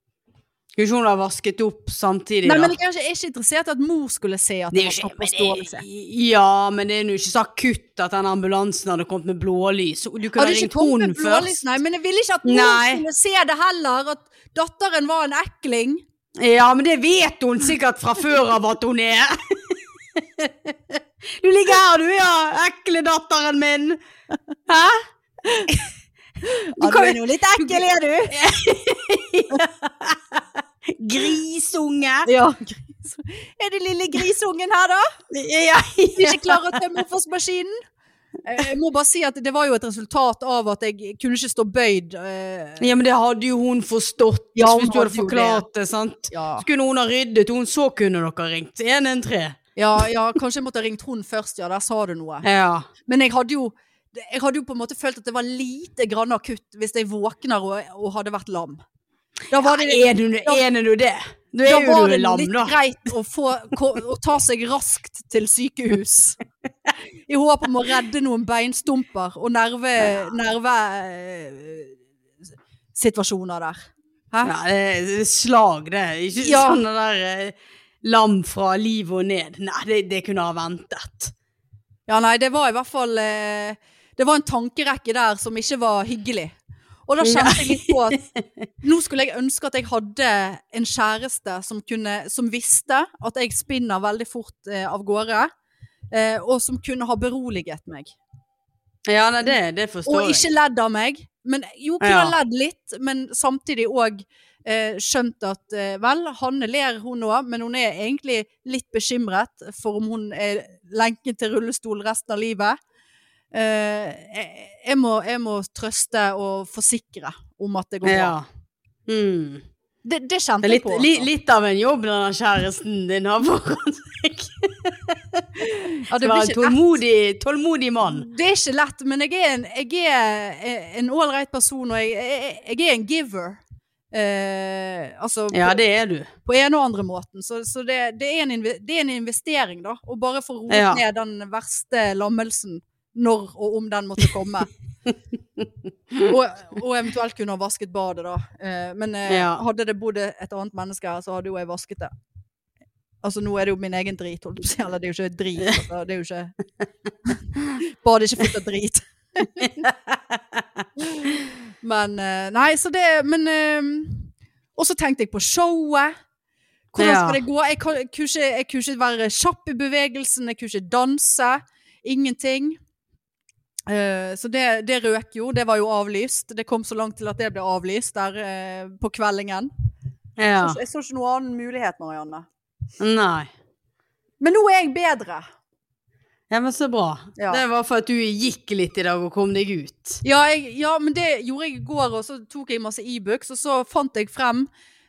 [SPEAKER 2] Skulle ikke hun ha vasket opp samtidig,
[SPEAKER 1] Nei,
[SPEAKER 2] da?
[SPEAKER 1] men jeg er ikke, jeg er ikke interessert i at mor skulle se at det var såpass dårlig. se.
[SPEAKER 2] ja, men det er jo ikke så akutt at den ambulansen hadde kommet med blålys. Du kunne
[SPEAKER 1] Hadde
[SPEAKER 2] ha
[SPEAKER 1] ikke
[SPEAKER 2] ringt
[SPEAKER 1] kommet
[SPEAKER 2] hun
[SPEAKER 1] med blålys,
[SPEAKER 2] først.
[SPEAKER 1] nei, men jeg ville ikke at mor
[SPEAKER 2] Nei.
[SPEAKER 1] skulle se det heller. At datteren var en ekling.
[SPEAKER 2] Ja, men det vet hun sikkert fra før av at hun er. Du ligger her, du, ja. Ekle datteren min. Hæ? Du kan jo
[SPEAKER 1] jo litt ekkel, er du?
[SPEAKER 2] Grisunge.
[SPEAKER 1] Ja. gris. Er det lille grisungen her, da?
[SPEAKER 2] Ja,
[SPEAKER 1] Som ikke klarer å tømme oppvaskmaskinen? Eh, Jeg må bare si at det var jo et resultat av at jeg kunne ikke stå bøyd. eh,
[SPEAKER 2] ja men det hadde jo hun forstått
[SPEAKER 1] Ja, hun
[SPEAKER 2] hvis du hadde
[SPEAKER 1] hadde jo det.
[SPEAKER 2] forklart det, sant?
[SPEAKER 1] Ja.
[SPEAKER 2] Så kunne hun ha ryddet, hun så kunne dere ringt. 113.
[SPEAKER 1] Ja, ja, kanskje jeg måtte ha ringt hun først, ja, der sa du noe.
[SPEAKER 2] Ja.
[SPEAKER 1] Men jeg hadde jo, jeg hadde jo på en måte følt at det var lite grann akutt hvis jeg våkner og, og hadde vært lam. Da var det,
[SPEAKER 2] Er du, er du det? Du
[SPEAKER 1] da
[SPEAKER 2] er jo
[SPEAKER 1] var
[SPEAKER 2] du
[SPEAKER 1] det
[SPEAKER 2] er lam,
[SPEAKER 1] litt
[SPEAKER 2] da.
[SPEAKER 1] greit å, få, ko- å ta seg raskt til sykehus. I håp om å redde noen beinstumper og nerve, nervesituasjoner der. Hæ?
[SPEAKER 2] Ja, det er slag, det. Ikke
[SPEAKER 1] Ja.
[SPEAKER 2] sånn det der eh, lam fra livet og ned. Nei, det, det kunne ha ventet.
[SPEAKER 1] Ja, nei, det var i hvert fall eh, Det var en tankerekke der som ikke var hyggelig. Og da kjente jeg litt på at nå skulle jeg ønske at jeg hadde en kjæreste som, kunne, som visste at jeg spinner veldig fort eh, av gårde, eh, og som kunne ha beroliget meg.
[SPEAKER 2] Ja, nei, det, det forstår
[SPEAKER 1] Og
[SPEAKER 2] jeg.
[SPEAKER 1] ikke ledd av meg. Men jo, kunne
[SPEAKER 2] Ja.
[SPEAKER 1] ha ledd litt, men samtidig òg eh, skjønt at eh, vel, Hanne ler hun òg, men hun er egentlig litt bekymret for om hun er lenket til rullestol resten av livet. Eh, jeg, jeg, må, jeg må trøste og forsikre om at det går bra.
[SPEAKER 2] Ja. Mm.
[SPEAKER 1] Det, det
[SPEAKER 2] Det
[SPEAKER 1] kjente
[SPEAKER 2] er
[SPEAKER 1] jeg
[SPEAKER 2] litt,
[SPEAKER 1] på.
[SPEAKER 2] li,
[SPEAKER 1] altså.
[SPEAKER 2] litt av en jobb når den kjæresten din har foran seg.
[SPEAKER 1] Ja,
[SPEAKER 2] Det
[SPEAKER 1] blir
[SPEAKER 2] var en
[SPEAKER 1] ikke
[SPEAKER 2] tålmodig, tålmodig mann.
[SPEAKER 1] Det er ikke lett, men jeg er en, jeg er en ålreit person, og jeg, jeg, jeg er en giver. Eh, altså
[SPEAKER 2] Ja, det er du.
[SPEAKER 1] på ene og andre måten. Så, så det, det, er en inve- det er en investering, da. Å bare få roet
[SPEAKER 2] Ja.
[SPEAKER 1] ned den verste lammelsen når og om den måtte komme. og, og eventuelt kunne ha vasket badet, da. Eh, men eh,
[SPEAKER 2] Ja.
[SPEAKER 1] hadde det bodd et annet menneske her, så hadde jo jeg vasket det. Altså, nå er det jo min egen drit, holdt jeg på å si. Eller det er jo ikke drit. Altså, det er jo ikke Badet er ikke fullt av drit. men eh, Nei, så det Men eh, Og så tenkte jeg på showet. Hvordan skal
[SPEAKER 2] Ja.
[SPEAKER 1] det gå? Jeg, kan, jeg, kunne ikke, jeg kunne ikke være kjapp i bevegelsen, jeg kunne ikke danse. Ingenting. Eh, så det, det røk jo. Det var jo avlyst. Det kom så langt til at det ble avlyst der eh, på kveldingen.
[SPEAKER 2] Ja.
[SPEAKER 1] Så Jeg så ikke noen annen mulighet, Marianne.
[SPEAKER 2] Nei.
[SPEAKER 1] Men nå er jeg bedre.
[SPEAKER 2] Ja, men så bra.
[SPEAKER 1] Ja.
[SPEAKER 2] Det var for at du gikk litt i dag og kom deg ut.
[SPEAKER 1] Ja, jeg, ja, men det gjorde jeg i går, og så tok jeg masse e-books, og så fant jeg frem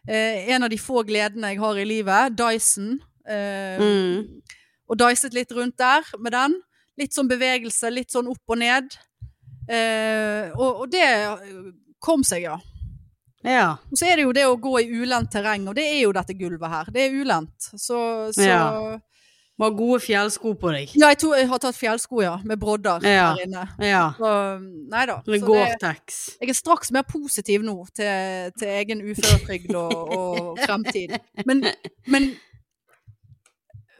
[SPEAKER 1] eh, en av de få gledene jeg har i livet, Dyson. Eh,
[SPEAKER 2] Mm.
[SPEAKER 1] Og dyset litt rundt der med den. Litt sånn bevegelse, litt sånn opp og ned. Eh, og, og det eh, kom seg, ja.
[SPEAKER 2] Ja.
[SPEAKER 1] Og så er det jo det å gå i ulendt terreng, og det er jo dette gulvet her. Det er ulendt. Så, så ja.
[SPEAKER 2] Ja. Må ha gode fjellsko på deg.
[SPEAKER 1] jeg tror jeg har tatt fjellsko, ja. Med brodder
[SPEAKER 2] Ja.
[SPEAKER 1] her inne.
[SPEAKER 2] Ja.
[SPEAKER 1] Så, nei da.
[SPEAKER 2] Med
[SPEAKER 1] Så det-
[SPEAKER 2] Gore-Tex.
[SPEAKER 1] jeg er straks mer positiv nå til, til egen uføretrygd og, og fremtid. Men, men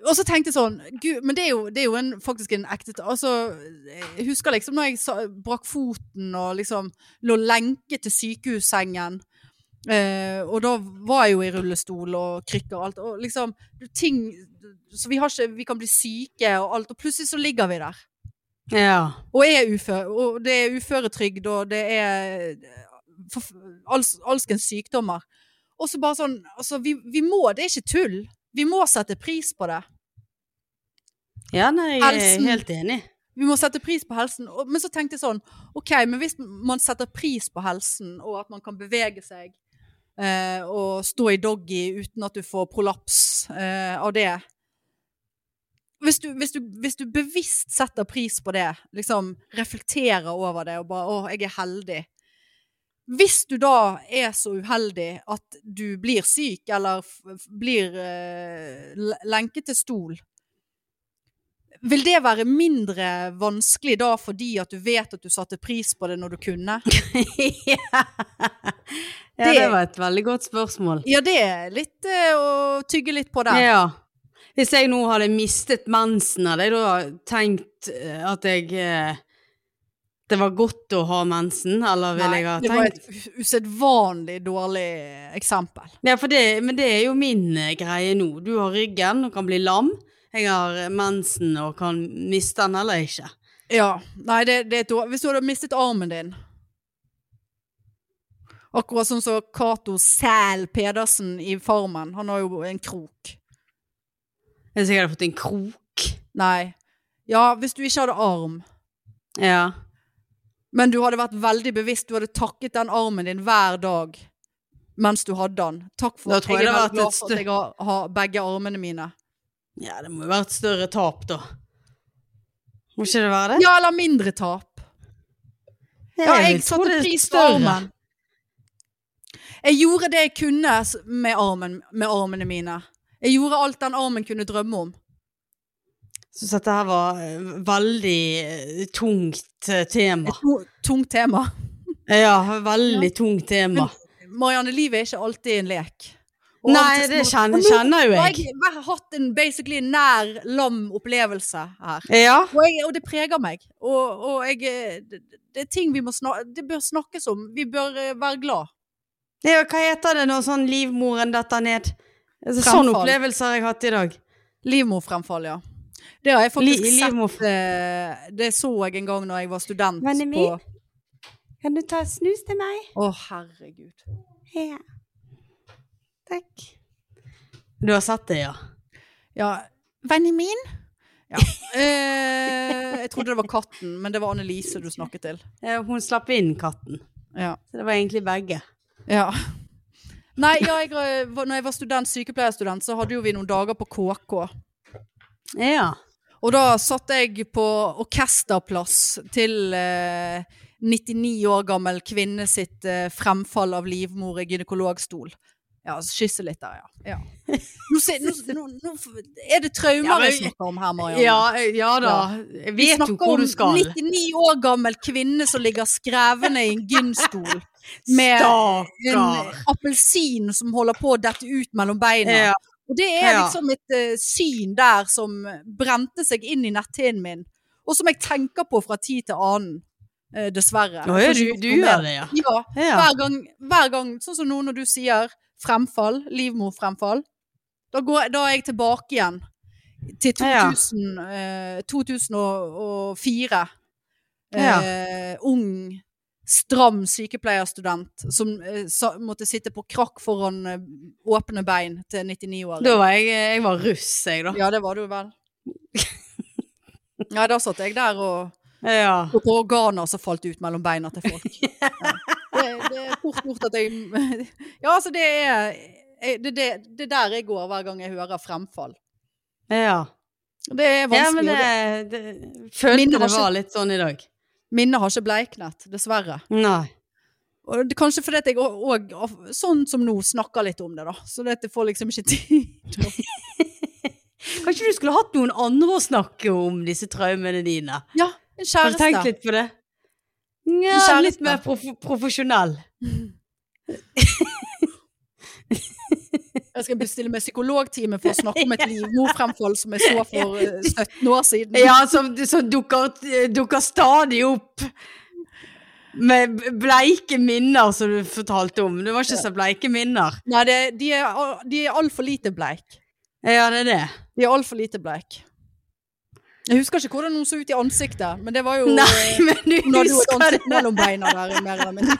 [SPEAKER 1] Og så tenkte jeg sånn Gud, Men det er jo, det er jo en, faktisk en ekte altså, Jeg husker liksom når jeg sa, brakk foten og liksom lå lenket til sykehussengen. Eh, og da var jeg jo i rullestol og krykker og alt. Og liksom ting Så vi, har ikke, vi kan bli syke og alt. Og plutselig så ligger vi der.
[SPEAKER 2] Ja.
[SPEAKER 1] Og er ufør. Og det er uføretrygd, og det er eh, forf- alls- alskens sykdommer. Og så bare sånn Altså, vi, vi må Det er ikke tull. Vi må sette pris på det.
[SPEAKER 2] Ja, nei, jeg er
[SPEAKER 1] Elsen.
[SPEAKER 2] helt enig.
[SPEAKER 1] Vi må sette pris på helsen. Og, men så tenkte jeg sånn OK, men hvis man setter pris på helsen, og at man kan bevege seg eh, og stå i doggy uten at du får prolaps eh, av det hvis du, hvis, du, hvis du bevisst setter pris på det, liksom reflekterer over det og bare 'Å, jeg er heldig'. Hvis du da er så uheldig at du blir syk eller f f- blir eh, le- lenket til stol, vil det være mindre vanskelig da fordi at du vet at du satte pris på det når du kunne?
[SPEAKER 2] ja, det,
[SPEAKER 1] Det-
[SPEAKER 2] var et veldig godt spørsmål.
[SPEAKER 1] Ja, det er litt eh, å tygge litt på der.
[SPEAKER 2] Ja. Hvis jeg nå hadde mistet mensen, hadde jeg da tenkt eh, at jeg eh, Det var godt å ha mensen, eller ville jeg ha
[SPEAKER 1] det var
[SPEAKER 2] tenkt
[SPEAKER 1] et u- usedvanlig dårlig eksempel.
[SPEAKER 2] Ja, for det, men det er jo min eh, greie nå. Du har ryggen og kan bli lam. Jeg har eh, mensen og kan miste den eller ikke.
[SPEAKER 1] Ja. Nei, det, det er et dår- Hvis du hadde mistet armen din Akkurat sånn som Cato Sæl Pedersen i Farmen. Han har jo en krok.
[SPEAKER 2] Hvis jeg hadde fått en krok.
[SPEAKER 1] Nei. Ja, hvis du ikke hadde arm.
[SPEAKER 2] Ja.
[SPEAKER 1] Men du hadde vært veldig bevisst, du hadde takket den armen din hver dag mens du hadde den. Takk for
[SPEAKER 2] Da
[SPEAKER 1] at
[SPEAKER 2] tror
[SPEAKER 1] jeg
[SPEAKER 2] jeg
[SPEAKER 1] er
[SPEAKER 2] det hadde
[SPEAKER 1] veldig glad
[SPEAKER 2] vært
[SPEAKER 1] for at
[SPEAKER 2] et
[SPEAKER 1] jeg har, har begge armene mine.
[SPEAKER 2] ja, det må jo være et større tap, da. Må ikke det være det?
[SPEAKER 1] Ja, eller mindre tap. Ja, jeg satte pris på armen. Jeg gjorde det jeg kunne s- med, armen, med armene mine. Jeg gjorde alt den armen kunne drømme om.
[SPEAKER 2] Syns dette her var eh, veldig eh, tungt eh, tema.
[SPEAKER 1] Et to- tungt tema.
[SPEAKER 2] Ja, veldig tungt tema.
[SPEAKER 1] Marianne, livet er ikke alltid en lek. Og av
[SPEAKER 2] Nei,
[SPEAKER 1] og til
[SPEAKER 2] det
[SPEAKER 1] så-
[SPEAKER 2] kjenner,
[SPEAKER 1] Og nå
[SPEAKER 2] kjenner jo
[SPEAKER 1] Har
[SPEAKER 2] jeg.
[SPEAKER 1] jeg har hatt en basically nær lam opplevelse her.
[SPEAKER 2] Ja.
[SPEAKER 1] Og, jeg, og det preger meg. Og, og jeg, eh, det, det er ting vi må snak det bør snakkes om. Vi bør eh, være glad.
[SPEAKER 2] ja. Hva heter det når sånn livmoren detter ned? Altså,
[SPEAKER 1] Fremfall.
[SPEAKER 2] Sånne opplevelser har jeg hatt i dag.
[SPEAKER 1] Livmorfremfall, ja. Det har jeg faktisk
[SPEAKER 2] Li- livmor-
[SPEAKER 1] sett. eh, Det så jeg en gang når jeg var student.
[SPEAKER 2] Vennen
[SPEAKER 1] på
[SPEAKER 2] min? Kan du ta snus til meg?
[SPEAKER 1] Å, herregud.
[SPEAKER 2] Ja. Takk. Du har sett det, ja?
[SPEAKER 1] Ja. Vennen min? Ja. Eh, jeg trodde det var katten, men det var Annelise du snakket til.
[SPEAKER 2] Eh, Hun slapp inn katten.
[SPEAKER 1] Ja.
[SPEAKER 2] Så det var egentlig begge.
[SPEAKER 1] ja. Nei, ja, jeg, eh, var- når jeg var student, sykepleierstudent, så hadde jo vi noen dager på KK.
[SPEAKER 2] Ja.
[SPEAKER 1] Og da satt jeg på orkesterplass til eh, 99 år gammel kvinne sitt eh, fremfall av livmor i gynekologstol. Ja, kysse litt der, ja. ja. Nå, se, nå, nå, nå er det
[SPEAKER 2] Ja,
[SPEAKER 1] traumer
[SPEAKER 2] men-
[SPEAKER 1] jeg snakker om her, Marianne.
[SPEAKER 2] Ja, ja da. Jeg
[SPEAKER 1] Vi
[SPEAKER 2] vet jo
[SPEAKER 1] snakker
[SPEAKER 2] hvor
[SPEAKER 1] om
[SPEAKER 2] du skal.
[SPEAKER 1] 99 år gammel kvinne som ligger skrevne i en gynstol med en
[SPEAKER 2] Stakkar!
[SPEAKER 1] appelsin som holder på å dette ut mellom beina.
[SPEAKER 2] Ja.
[SPEAKER 1] Og det er
[SPEAKER 2] Ja.
[SPEAKER 1] liksom et eh, syn der som brente seg inn i netthinnen min, og som jeg tenker på fra tid til annen, eh, dessverre.
[SPEAKER 2] Å ja, du, du gjør det, ja.
[SPEAKER 1] Ja,
[SPEAKER 2] ja.
[SPEAKER 1] hver gang, hver gang, sånn som nå når du sier fremfall, livmorfremfall, da, går, da er jeg tilbake igjen til
[SPEAKER 2] Ja.
[SPEAKER 1] 2000, eh, 2004.
[SPEAKER 2] Ja.
[SPEAKER 1] eh, ung, stram sykepleierstudent som eh, sa, måtte sitte på krakk foran eh, åpne bein til 99-åring.
[SPEAKER 2] Da var jeg, jeg var russ, jeg, da.
[SPEAKER 1] Ja, det var du vel. Ja, da satt jeg der og
[SPEAKER 2] Ja.
[SPEAKER 1] og på organer som falt ut mellom beina til folk. Ja. Det, det er fort gjort at jeg Ja, altså, det er jeg- det, det, det der jeg går hver gang jeg hører fremfall.
[SPEAKER 2] ja.
[SPEAKER 1] Det er
[SPEAKER 2] ja men
[SPEAKER 1] vanskelig. og det,
[SPEAKER 2] det, det Følte
[SPEAKER 1] Minnet
[SPEAKER 2] det
[SPEAKER 1] var
[SPEAKER 2] var litt sånn i dag.
[SPEAKER 1] minnet har ikke bleiknet, dessverre.
[SPEAKER 2] Nei.
[SPEAKER 1] Og det, kanskje fordi at jeg òg, sånn som nå, snakker litt om det, da. Så det at jeg får liksom ikke tid.
[SPEAKER 2] Kanskje du skulle hatt noen andre å snakke om disse traumene dine?
[SPEAKER 1] Ja, en
[SPEAKER 2] Har du tenkt
[SPEAKER 1] kjæreste.
[SPEAKER 2] litt på det? Nja,
[SPEAKER 1] Kjæreste.
[SPEAKER 2] litt mer prof profesjonell.
[SPEAKER 1] Jeg skal bestille meg psykologtime for å snakke om et livmorfremfall som jeg så for eh, 17 år siden.
[SPEAKER 2] Ja, som, som dukker, dukker stadig opp med bleike minner, som du fortalte om. Det var ikke så bleike minner.
[SPEAKER 1] Nei, det, de er, al- de er altfor lite bleik.
[SPEAKER 2] Ja, det er det.
[SPEAKER 1] De er altfor lite bleik. Jeg husker ikke hvordan hun så ut i ansiktet, men det var jo
[SPEAKER 2] Nei,
[SPEAKER 1] eh,
[SPEAKER 2] men du
[SPEAKER 1] Hun hadde jo et
[SPEAKER 2] husker det.
[SPEAKER 1] ansikt mellom beina der. mer eller mindre.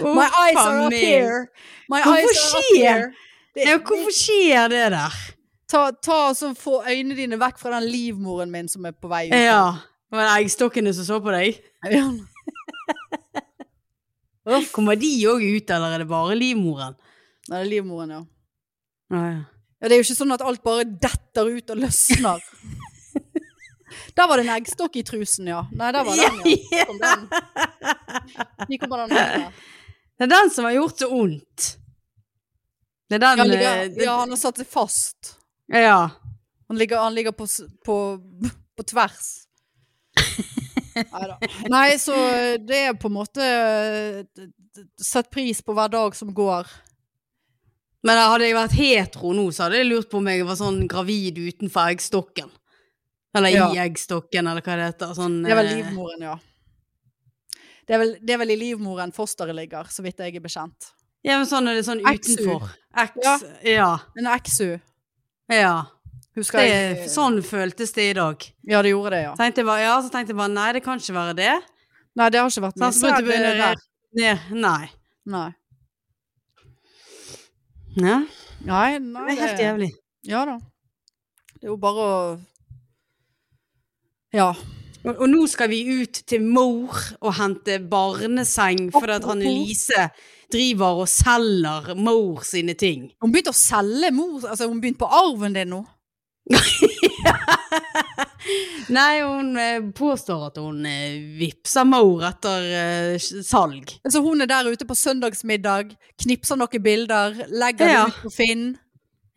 [SPEAKER 2] Å,
[SPEAKER 1] My eyes
[SPEAKER 2] faen
[SPEAKER 1] are up
[SPEAKER 2] meg.
[SPEAKER 1] here! My
[SPEAKER 2] Hvorfor
[SPEAKER 1] eyes are up
[SPEAKER 2] skjer?
[SPEAKER 1] here! Det,
[SPEAKER 2] Ja, hvorfor skjer det der?
[SPEAKER 1] ta, ta og så Få øynene dine vekk fra den livmoren min som er på vei ut.
[SPEAKER 2] Ja, var det eggstokkene som så på deg?
[SPEAKER 1] Ja.
[SPEAKER 2] Kommer de òg ut, eller er det bare livmoren?
[SPEAKER 1] Nei, det er livmoren, ja.
[SPEAKER 2] Ja, ja.
[SPEAKER 1] ja. Det er jo ikke sånn at alt bare detter ut og løsner. Der var det en eggstokk i trusen, ja. Nei, der var den, ja. Der kom den. Hvor kommer den andre.
[SPEAKER 2] Det er den som har gjort det ondt. Det er den
[SPEAKER 1] Ja, han
[SPEAKER 2] eh,
[SPEAKER 1] ligger,
[SPEAKER 2] det,
[SPEAKER 1] ja, han har satt seg fast.
[SPEAKER 2] ja.
[SPEAKER 1] Han ligger, han ligger på, s- på, på tvers. Neida. Nei, så det er på en måte eh, d- d- Sett pris på hver dag som går.
[SPEAKER 2] Men da hadde jeg vært hetero nå, så hadde jeg lurt på om jeg var sånn gravid utenfor eggstokken. Eller
[SPEAKER 1] Ja.
[SPEAKER 2] i eggstokken, eller hva det heter. Sånn,
[SPEAKER 1] Det er vel
[SPEAKER 2] eh,
[SPEAKER 1] livmoren, ja. Det er vel, det er vel i livmoren fosteret ligger, så vidt jeg er bekjent.
[SPEAKER 2] Ja, men sånn er det sånn
[SPEAKER 1] Exu.
[SPEAKER 2] utenfor. X, ja.
[SPEAKER 1] Ja.
[SPEAKER 2] ja.
[SPEAKER 1] En exu, husker
[SPEAKER 2] Det,
[SPEAKER 1] jeg.
[SPEAKER 2] sånn føltes det i dag.
[SPEAKER 1] Ja, det gjorde det, ja.
[SPEAKER 2] Tenkte jeg bare, ja, så tenkte jeg bare, nei, det kan ikke være det.
[SPEAKER 1] Nei, det har ikke vært
[SPEAKER 2] Så begynte jeg å
[SPEAKER 1] det
[SPEAKER 2] begynne å
[SPEAKER 1] der.
[SPEAKER 2] re- Nei.
[SPEAKER 1] Nei.
[SPEAKER 2] Ja,
[SPEAKER 1] Nei,
[SPEAKER 2] det
[SPEAKER 1] nei.
[SPEAKER 2] er helt jævlig.
[SPEAKER 1] Ja da. Det er jo bare å Ja.
[SPEAKER 2] Og, og nå skal vi ut til mor og hente barneseng, fordi at Annelise driver og selger mor sine ting.
[SPEAKER 1] Hun begynte å selge mor, altså hun begynte på arven din nå.
[SPEAKER 2] Nei, hun eh, påstår at hun eh, vipser mor etter eh, s- salg.
[SPEAKER 1] Altså hun er der ute på søndagsmiddag, knipser noen bilder, legger
[SPEAKER 2] Ja.
[SPEAKER 1] det ut på Finn.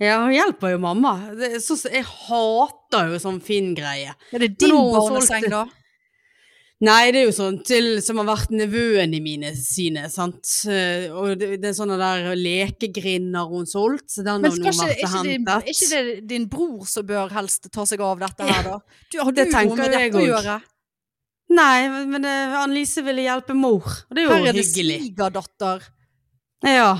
[SPEAKER 2] Ja, hun hjelper jo mamma. Det, så, så, jeg hater jo sånn Finn-greie.
[SPEAKER 1] Er det din
[SPEAKER 2] nå har hun
[SPEAKER 1] barneseng
[SPEAKER 2] solgt
[SPEAKER 1] da?
[SPEAKER 2] Nei, det er jo sånn til som har vært nevøene mine sine, sant. Eh, Og det, det er sånne der lekegrind har hun solgt, så den
[SPEAKER 1] Men
[SPEAKER 2] har hun
[SPEAKER 1] skal ikke,
[SPEAKER 2] vært og
[SPEAKER 1] er, ikke din, er
[SPEAKER 2] hentet.
[SPEAKER 1] ikke det din bror som bør helst ta seg av dette her da? Du, har
[SPEAKER 2] Det
[SPEAKER 1] du noe
[SPEAKER 2] tenker
[SPEAKER 1] med
[SPEAKER 2] jeg
[SPEAKER 1] dette å
[SPEAKER 2] også.
[SPEAKER 1] gjøre?
[SPEAKER 2] Nei, men- men eh, Annelise ville hjelpe mor, og det er jo
[SPEAKER 1] Her er det
[SPEAKER 2] hyggelig.
[SPEAKER 1] svigerdatter eh,
[SPEAKER 2] Ja.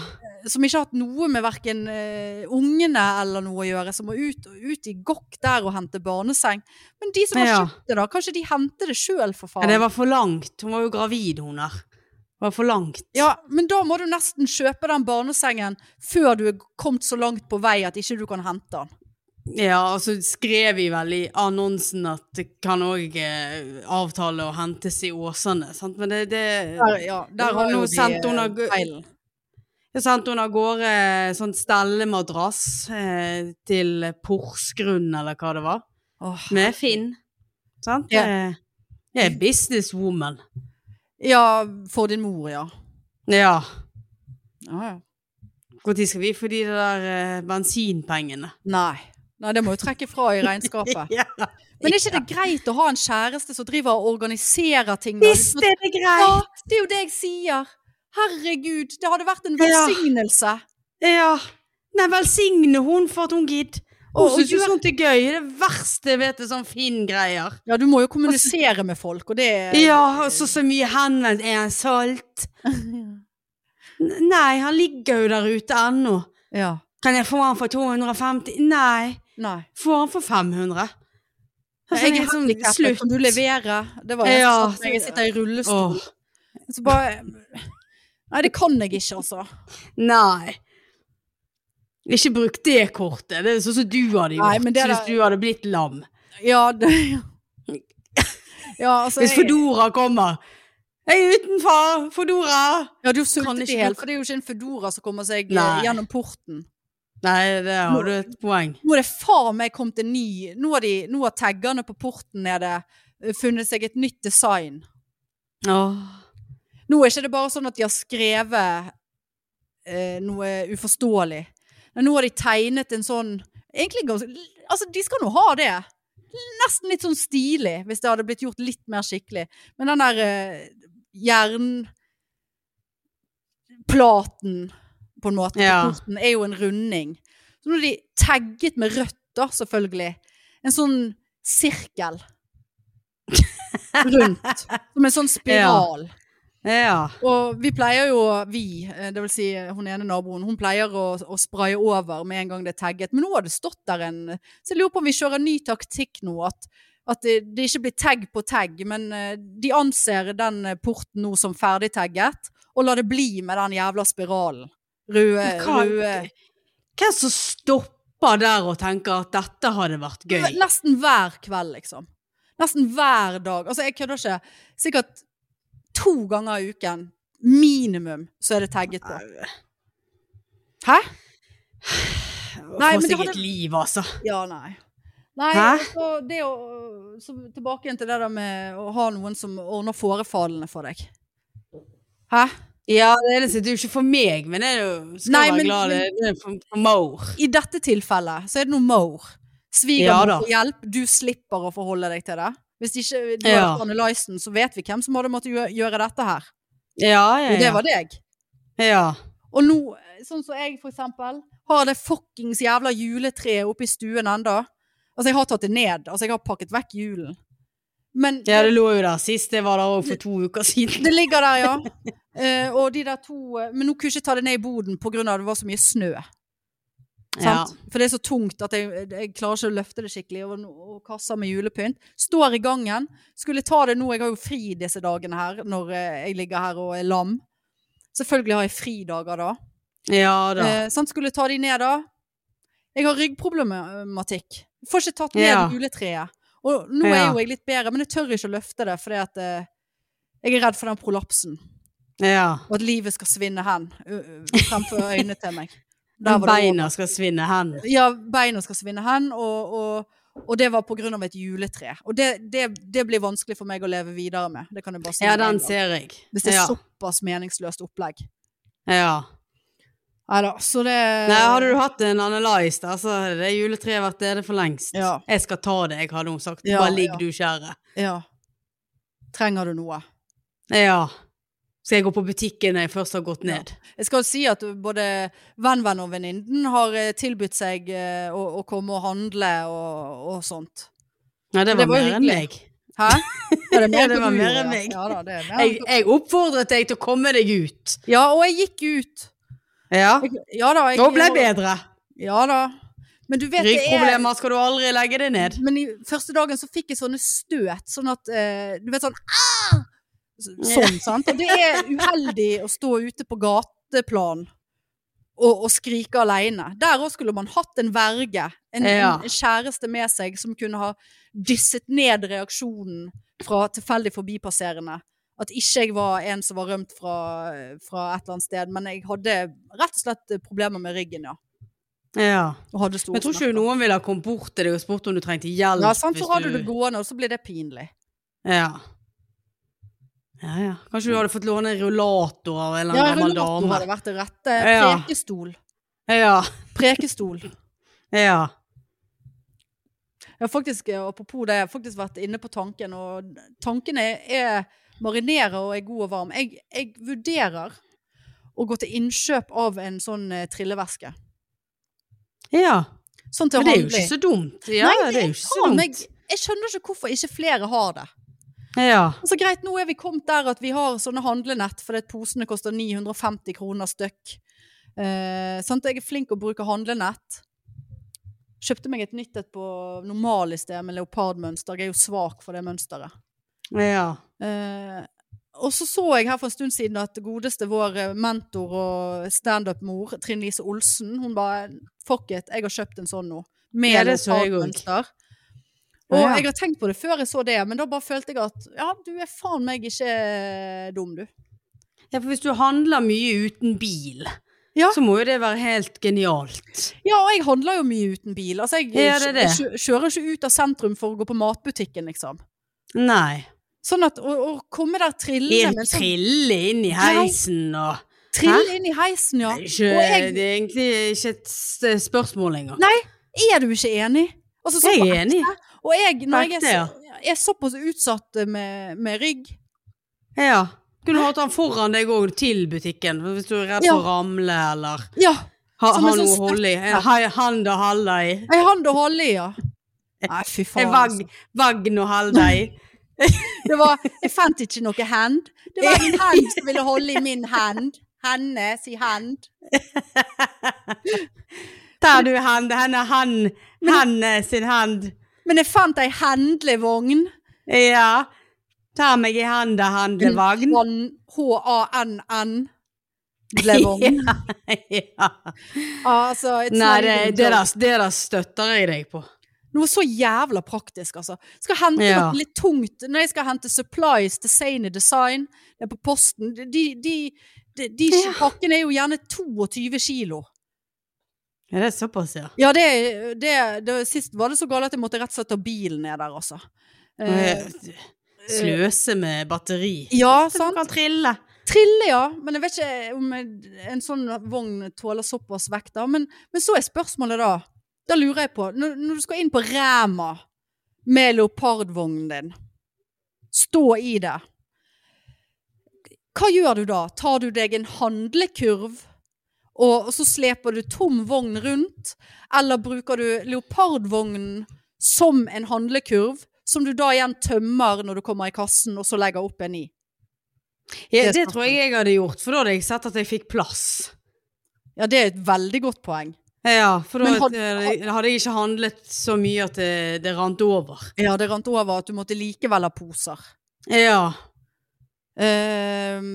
[SPEAKER 1] som ikke har hatt noe med hverken eh, ungene eller noe å gjøre, som må ut, ut i gokk der og hente barneseng. Men de som har
[SPEAKER 2] Ja.
[SPEAKER 1] kjøpt det da, kanskje de henter det sjøl for
[SPEAKER 2] ja,
[SPEAKER 1] faen?
[SPEAKER 2] det var for langt. Hun var jo gravid, hun der. Det var for langt.
[SPEAKER 1] Ja, men da må du nesten kjøpe den barnesengen før du er kommet så langt på vei at ikke du kan hente den.
[SPEAKER 2] Ja, og så skrev vi vel i annonsen at det kan òg eh, avtale å hentes i Åsane, sant, men det, det
[SPEAKER 1] Der, ja, der har
[SPEAKER 2] Nå
[SPEAKER 1] jo
[SPEAKER 2] sendte hun
[SPEAKER 1] eh,
[SPEAKER 2] av-
[SPEAKER 1] feilen.
[SPEAKER 2] Jeg sendte hun av gårde eh, sånn stellemadrass eh, til Porsgrunn, eller hva det var,
[SPEAKER 1] Åh.
[SPEAKER 2] med Finn. Sant?
[SPEAKER 1] Ja.
[SPEAKER 2] Eh, Jeg er businesswoman.
[SPEAKER 1] Ja, for din mor, ja.
[SPEAKER 2] Ja.
[SPEAKER 1] ja, ja.
[SPEAKER 2] Når skal vi få de der eh, bensinpengene?
[SPEAKER 1] Nei. Nei, det må jo trekke fra i regnskapet.
[SPEAKER 2] Ja.
[SPEAKER 1] Men er ikke det greit å ha en kjæreste som driver og organiserer ting? da? Liksom
[SPEAKER 2] Hvis det er
[SPEAKER 1] Ja,
[SPEAKER 2] greit!
[SPEAKER 1] det er jo det jeg sier. Herregud, det hadde vært en
[SPEAKER 2] Ja.
[SPEAKER 1] velsignelse.
[SPEAKER 2] Ja. Nei, velsigne hun for at hun gidder. Hun
[SPEAKER 1] Og- og
[SPEAKER 2] syns jo
[SPEAKER 1] gjør-
[SPEAKER 2] sånt er gøy. Det verste jeg vet er sånn Finn-greier.
[SPEAKER 1] Ja, du må jo kommunisere med folk, og det
[SPEAKER 2] Eh, Ja, og så så mye henvendt. Er han solgt? N- Nei, han ligger jo der ute ennå.
[SPEAKER 1] Ja.
[SPEAKER 2] Kan jeg få han for 250? Nei.
[SPEAKER 1] Nei.
[SPEAKER 2] Får han for 500?
[SPEAKER 1] Altså, jeg er
[SPEAKER 2] sånn,
[SPEAKER 1] handikappet,
[SPEAKER 2] slutt.
[SPEAKER 1] Kan du levere? Det var nesten
[SPEAKER 2] Ja,
[SPEAKER 1] sånn, Jeg sitter i rullestol.
[SPEAKER 2] Åh,
[SPEAKER 1] Så bare Nei, det kan jeg ikke, altså.
[SPEAKER 2] nei. Ikke bruk det kortet. Det er sånn som du hadde gjort
[SPEAKER 1] Nei, men det er
[SPEAKER 2] hvis
[SPEAKER 1] da-
[SPEAKER 2] du hadde blitt lam.
[SPEAKER 1] Ja, det Ja, altså
[SPEAKER 2] Hvis
[SPEAKER 1] jeg-
[SPEAKER 2] Fodora kommer. Jeg er utenfor! Fodora!
[SPEAKER 1] Ja, du
[SPEAKER 2] Kan
[SPEAKER 1] sultet
[SPEAKER 2] ikke
[SPEAKER 1] i hjel,
[SPEAKER 2] du-
[SPEAKER 1] for det er jo ikke en Foodora som kommer seg eh,
[SPEAKER 2] Nei.
[SPEAKER 1] gjennom porten.
[SPEAKER 2] Nei, der har du et poeng.
[SPEAKER 1] Nå er det faen meg kommet en ny Nå har, de, nå har taggene på porten nede eh, funnet seg et nytt design.
[SPEAKER 2] Åh.
[SPEAKER 1] Nå er ikke det bare sånn at de har skrevet eh, noe uforståelig. Men nå har de tegnet en sånn Egentlig ganske Altså, de skal nå ha det. Nesten litt sånn stilig, hvis det hadde blitt gjort litt mer skikkelig. Men den der eh, jernplaten, på en måte,
[SPEAKER 2] Ja.
[SPEAKER 1] på porten, er jo en runding. Så nå har de tagget med rødt, da, selvfølgelig. En sånn sirkel. Rundt. Som en sånn spiral.
[SPEAKER 2] Ja.
[SPEAKER 1] Og vi pleier jo, vi, eh, det vil si eh, hun ene naboen, hun pleier å, å spraye over med en gang det er tagget. Men nå har det stått der en Så jeg lurer på om vi kjører en ny taktikk nå. At, at det, det ikke blir tagg på tagg, men eh, de anser den eh, porten nå som ferdigtagget. Og lar det bli med den jævla spiralen. Røde,
[SPEAKER 2] Men hva-
[SPEAKER 1] røde
[SPEAKER 2] Hvem som stopper der og tenker at dette hadde vært gøy?
[SPEAKER 1] Nesten hver kveld, liksom. Nesten hver dag. Altså, jeg kødder ikke. Sikkert to ganger i uken, minimum, så er det tagget på. Hæ? Nei,
[SPEAKER 2] Få
[SPEAKER 1] men det
[SPEAKER 2] seg
[SPEAKER 1] hadde-
[SPEAKER 2] et liv, altså.
[SPEAKER 1] Ja, nei. Nei,
[SPEAKER 2] Hæ?
[SPEAKER 1] altså, det å så Tilbake igjen til det der med å ha noen som ordner forefallene for deg. Hæ?
[SPEAKER 2] Ja, det er, liksom, det er jo ikke for meg, men jeg er jo- skal
[SPEAKER 1] Nei,
[SPEAKER 2] være
[SPEAKER 1] men-
[SPEAKER 2] glad det, det er for, for Maur.
[SPEAKER 1] I dette tilfellet så er det noe Maur.
[SPEAKER 2] Ja
[SPEAKER 1] Svigermor
[SPEAKER 2] da.
[SPEAKER 1] får hjelp, du slipper å forholde deg til det. Hvis ikke du har
[SPEAKER 2] Ja.
[SPEAKER 1] hadde analysen, så vet vi hvem som hadde måttet gjø- gjøre dette her.
[SPEAKER 2] Ja,
[SPEAKER 1] Og det
[SPEAKER 2] ja,
[SPEAKER 1] var deg.
[SPEAKER 2] ja. ja.
[SPEAKER 1] Og nå, sånn som jeg for eksempel, har det fuckings jævla juletreet oppe i stuen enda. Altså, jeg har tatt det ned. Altså, jeg har pakket vekk julen. Men
[SPEAKER 2] Ja, det lå jo der sist. Det var der òg for to uker siden.
[SPEAKER 1] Det ligger der, ja. Eh, og de der to eh, Men nå kunne jeg ikke ta det ned i boden pga. at det var så mye snø.
[SPEAKER 2] Ja.
[SPEAKER 1] Sant? For det er så tungt at jeg, jeg klarer ikke å løfte det skikkelig. Og, og kasser med julepynt. Står i gangen. Skulle ta det nå. Jeg har jo fri disse dagene her når eh, jeg ligger her og er lam. Selvfølgelig har jeg fridager da.
[SPEAKER 2] ja da.
[SPEAKER 1] Eh, sant? Skulle ta de ned da. Jeg har ryggproblematikk. Får ikke tatt ned
[SPEAKER 2] Ja.
[SPEAKER 1] juletreet. Og nå er
[SPEAKER 2] Ja.
[SPEAKER 1] jo jeg litt bedre, men jeg tør ikke å løfte det fordi at eh, jeg er redd for den prolapsen.
[SPEAKER 2] Ja.
[SPEAKER 1] Og at livet skal svinne hen ø- ø, fremfor øynene til meg. Der var det
[SPEAKER 2] Beina skal svinne hen.
[SPEAKER 1] over. Ja, beina skal svinne hen, og, og, og det var på grunn av et juletre. Og det, det, det blir vanskelig for meg å leve videre med. Det kan jeg bare si.
[SPEAKER 2] Ja,
[SPEAKER 1] med en
[SPEAKER 2] den
[SPEAKER 1] gang.
[SPEAKER 2] ser jeg.
[SPEAKER 1] Hvis det er
[SPEAKER 2] ja.
[SPEAKER 1] såpass meningsløst opplegg.
[SPEAKER 2] ja.
[SPEAKER 1] Neida, så det
[SPEAKER 2] Nei, hadde du hatt en analyse der, så hadde det juletreet vært nede for lengst.
[SPEAKER 1] Ja.
[SPEAKER 2] Jeg skal ta deg, hadde hun sagt.
[SPEAKER 1] Ja,
[SPEAKER 2] Bare ligg
[SPEAKER 1] ja.
[SPEAKER 2] du, kjære.
[SPEAKER 1] Ja. Trenger du noe?
[SPEAKER 2] Ja. Skal jeg gå på butikken når jeg først har gått
[SPEAKER 1] Ja.
[SPEAKER 2] ned?
[SPEAKER 1] Jeg skal jo si at både venn-venn og venninnen har eh, tilbudt seg eh, å, å komme og handle og, og sånt.
[SPEAKER 2] Nei, det
[SPEAKER 1] Men det
[SPEAKER 2] var,
[SPEAKER 1] var jo
[SPEAKER 2] mer enn
[SPEAKER 1] hyggelig.
[SPEAKER 2] meg.
[SPEAKER 1] Hæ? Ja,
[SPEAKER 2] Ja,
[SPEAKER 1] det, er
[SPEAKER 2] det
[SPEAKER 1] enn
[SPEAKER 2] var
[SPEAKER 1] du
[SPEAKER 2] mer enn
[SPEAKER 1] gjorde, ja.
[SPEAKER 2] meg.
[SPEAKER 1] Ja, da, det er mer enn
[SPEAKER 2] Jeg, jeg oppfordret deg til å komme deg ut.
[SPEAKER 1] Ja, og jeg gikk ut.
[SPEAKER 2] Ja.
[SPEAKER 1] Ja da. Jeg,
[SPEAKER 2] Ah. Nå ble jeg bedre.
[SPEAKER 1] Ja da. Men du vet, det er
[SPEAKER 2] Ryggproblemer skal du aldri legge deg ned.
[SPEAKER 1] Men i første dagen så fikk jeg sånne støt, sånn at eh, Du vet sånn «Ah!» Så- Sånn, sant. Og det er uheldig å stå ute på gateplan og, og skrike aleine. Der òg skulle man hatt en verge, en,
[SPEAKER 2] Ja.
[SPEAKER 1] en kjæreste med seg, som kunne ha dysset ned reaksjonen fra tilfeldig forbipasserende. At ikke jeg var en som var rømt fra, fra et eller annet sted, men jeg hadde rett og slett problemer med ryggen, ja.
[SPEAKER 2] Ja.
[SPEAKER 1] Og hadde store
[SPEAKER 2] Men jeg tror ikke
[SPEAKER 1] smerter.
[SPEAKER 2] noen ville ha kommet bort til deg og spurt om du trengte hjelp.
[SPEAKER 1] Ja, sant,
[SPEAKER 2] hvis
[SPEAKER 1] så har du det gående, og så blir det pinlig.
[SPEAKER 2] Ja. ja, ja. Kanskje du hadde fått låne en rullator av en eller
[SPEAKER 1] Ja,
[SPEAKER 2] annen gammel
[SPEAKER 1] rullator
[SPEAKER 2] dame.
[SPEAKER 1] hadde vært det rette.
[SPEAKER 2] Ja.
[SPEAKER 1] Prekestol.
[SPEAKER 2] Ja,
[SPEAKER 1] Prekestol.
[SPEAKER 2] ja.
[SPEAKER 1] Jeg har faktisk, eh, apropos det, jeg har faktisk vært inne på tanken, og tanken er, er marinerer og er god og varm. Jeg, jeg vurderer å gå til innkjøp av en sånn eh, trilleveske.
[SPEAKER 2] ja.
[SPEAKER 1] Sånn til
[SPEAKER 2] Men det er jo ikke
[SPEAKER 1] handling.
[SPEAKER 2] så dumt. Ja,
[SPEAKER 1] Nei,
[SPEAKER 2] det er jo ikke så
[SPEAKER 1] Faen,
[SPEAKER 2] dumt.
[SPEAKER 1] jeg, jeg skjønner ikke hvorfor ikke flere har det.
[SPEAKER 2] Ja.
[SPEAKER 1] Altså greit, nå er vi kommet der at vi har sånne handlenett, fordi at posene koster 950 kroner stykk. Eh, sant? Jeg er flink å bruke handlenett. Kjøpte meg et nytt et på normal i sted, med leopardmønster. Jeg er jo svak for det mønsteret.
[SPEAKER 2] Ja.
[SPEAKER 1] Eh, og så så jeg her for en stund siden at godeste vår eh, mentor og standup-mor, Trine Lise Olsen, hun bare Fuck it, jeg har kjøpt en sånn nå. Med
[SPEAKER 2] Ja, det så jeg også.
[SPEAKER 1] leopardmønster.
[SPEAKER 2] Ja,
[SPEAKER 1] Og
[SPEAKER 2] ja.
[SPEAKER 1] jeg har tenkt på det før jeg så det, men da bare følte jeg at ja, du er faen meg ikke eh, dum, du.
[SPEAKER 2] ja, for hvis du handler mye uten bil,
[SPEAKER 1] Ja.
[SPEAKER 2] så må jo det være helt genialt.
[SPEAKER 1] Ja, og jeg handler jo mye uten bil. Altså, jeg
[SPEAKER 2] Ja, det er det.
[SPEAKER 1] kjø- kjører ikke ut av sentrum for å gå på matbutikken, liksom.
[SPEAKER 2] Nei.
[SPEAKER 1] Sånn at å, å komme der trillende
[SPEAKER 2] Helt
[SPEAKER 1] med en sånn
[SPEAKER 2] trille inn i heisen og
[SPEAKER 1] Trille inn i heisen, ja.
[SPEAKER 2] Det er ikke,
[SPEAKER 1] Og jeg-
[SPEAKER 2] Det er egentlig ikke et s- spørsmål engang.
[SPEAKER 1] Nei, Er du ikke enig? Altså, så
[SPEAKER 2] jeg
[SPEAKER 1] på-
[SPEAKER 2] er enig.
[SPEAKER 1] og jeg, når jeg er,
[SPEAKER 2] Ekte, ja.
[SPEAKER 1] så, er såpass utsatt eh, med, med rygg
[SPEAKER 2] Ja. Kunne hatt han foran deg òg til butikken, hvis du er redd
[SPEAKER 1] Ja.
[SPEAKER 2] for å ramle eller
[SPEAKER 1] Ja,
[SPEAKER 2] ha,
[SPEAKER 1] Som
[SPEAKER 2] ha
[SPEAKER 1] en sånn
[SPEAKER 2] noe å holde i.
[SPEAKER 1] støtte.
[SPEAKER 2] Ha- Hand å holde i.
[SPEAKER 1] ei hand å holde i, ja. Nei, fy faen.
[SPEAKER 2] En vagn,
[SPEAKER 1] altså.
[SPEAKER 2] vagn å holde i.
[SPEAKER 1] Det var, jeg fant ikke noe hand. Det var en hand som ville holde i min hand. Henne, si hand.
[SPEAKER 2] Der du er hand, henne hand, henne sin hand.
[SPEAKER 1] Men jeg fant ei handlevogn.
[SPEAKER 2] Ja. Ta meg i handa, handlevagn.
[SPEAKER 1] Vagn. H-a-n-n. Blevogn.
[SPEAKER 2] Ja. Sånn
[SPEAKER 1] Altså, it's
[SPEAKER 2] Nei,
[SPEAKER 1] not
[SPEAKER 2] det,
[SPEAKER 1] even a
[SPEAKER 2] det,
[SPEAKER 1] joke.
[SPEAKER 2] der, det der støtter jeg deg på.
[SPEAKER 1] Noe så jævla praktisk, altså. Skal hente
[SPEAKER 2] Ja.
[SPEAKER 1] noe litt tungt. Når jeg skal hente supplies til Sane Design det er på posten De, de, de, de, de
[SPEAKER 2] Ja.
[SPEAKER 1] pakkene er jo gjerne 22 kilo.
[SPEAKER 2] Ja, det er såpass, ja.
[SPEAKER 1] Ja, det, det, det Sist var det så galt at jeg måtte rett og slett ta bilen ned der, altså. Eh,
[SPEAKER 2] Sløse med batteri.
[SPEAKER 1] ja,
[SPEAKER 2] Så du
[SPEAKER 1] sant.
[SPEAKER 2] kan trille.
[SPEAKER 1] Trille, ja. Men jeg vet ikke om jeg- en sånn vogn tåler såpass vekt, da. Men, men så er spørsmålet da Da lurer jeg på Når, når du skal inn på Ræma med leopardvognen din, stå i det Hva gjør du da? Tar du deg en handlekurv, og, og så sleper du tom vogn rundt? Eller bruker du leopardvognen som en handlekurv, som du da igjen tømmer når du kommer i kassen, og så legger opp en i?
[SPEAKER 2] Ja,
[SPEAKER 1] Det
[SPEAKER 2] det
[SPEAKER 1] er
[SPEAKER 2] tror jeg jeg hadde gjort, for da hadde jeg sett at jeg fikk plass.
[SPEAKER 1] Ja, det er et veldig godt poeng.
[SPEAKER 2] Ja, for da
[SPEAKER 1] Men
[SPEAKER 2] hadde,
[SPEAKER 1] hadde-
[SPEAKER 2] hadde jeg ikke handlet så mye at det, det rant over.
[SPEAKER 1] Ja, det rant over at du måtte likevel ha poser.
[SPEAKER 2] Ja.
[SPEAKER 1] Ehm,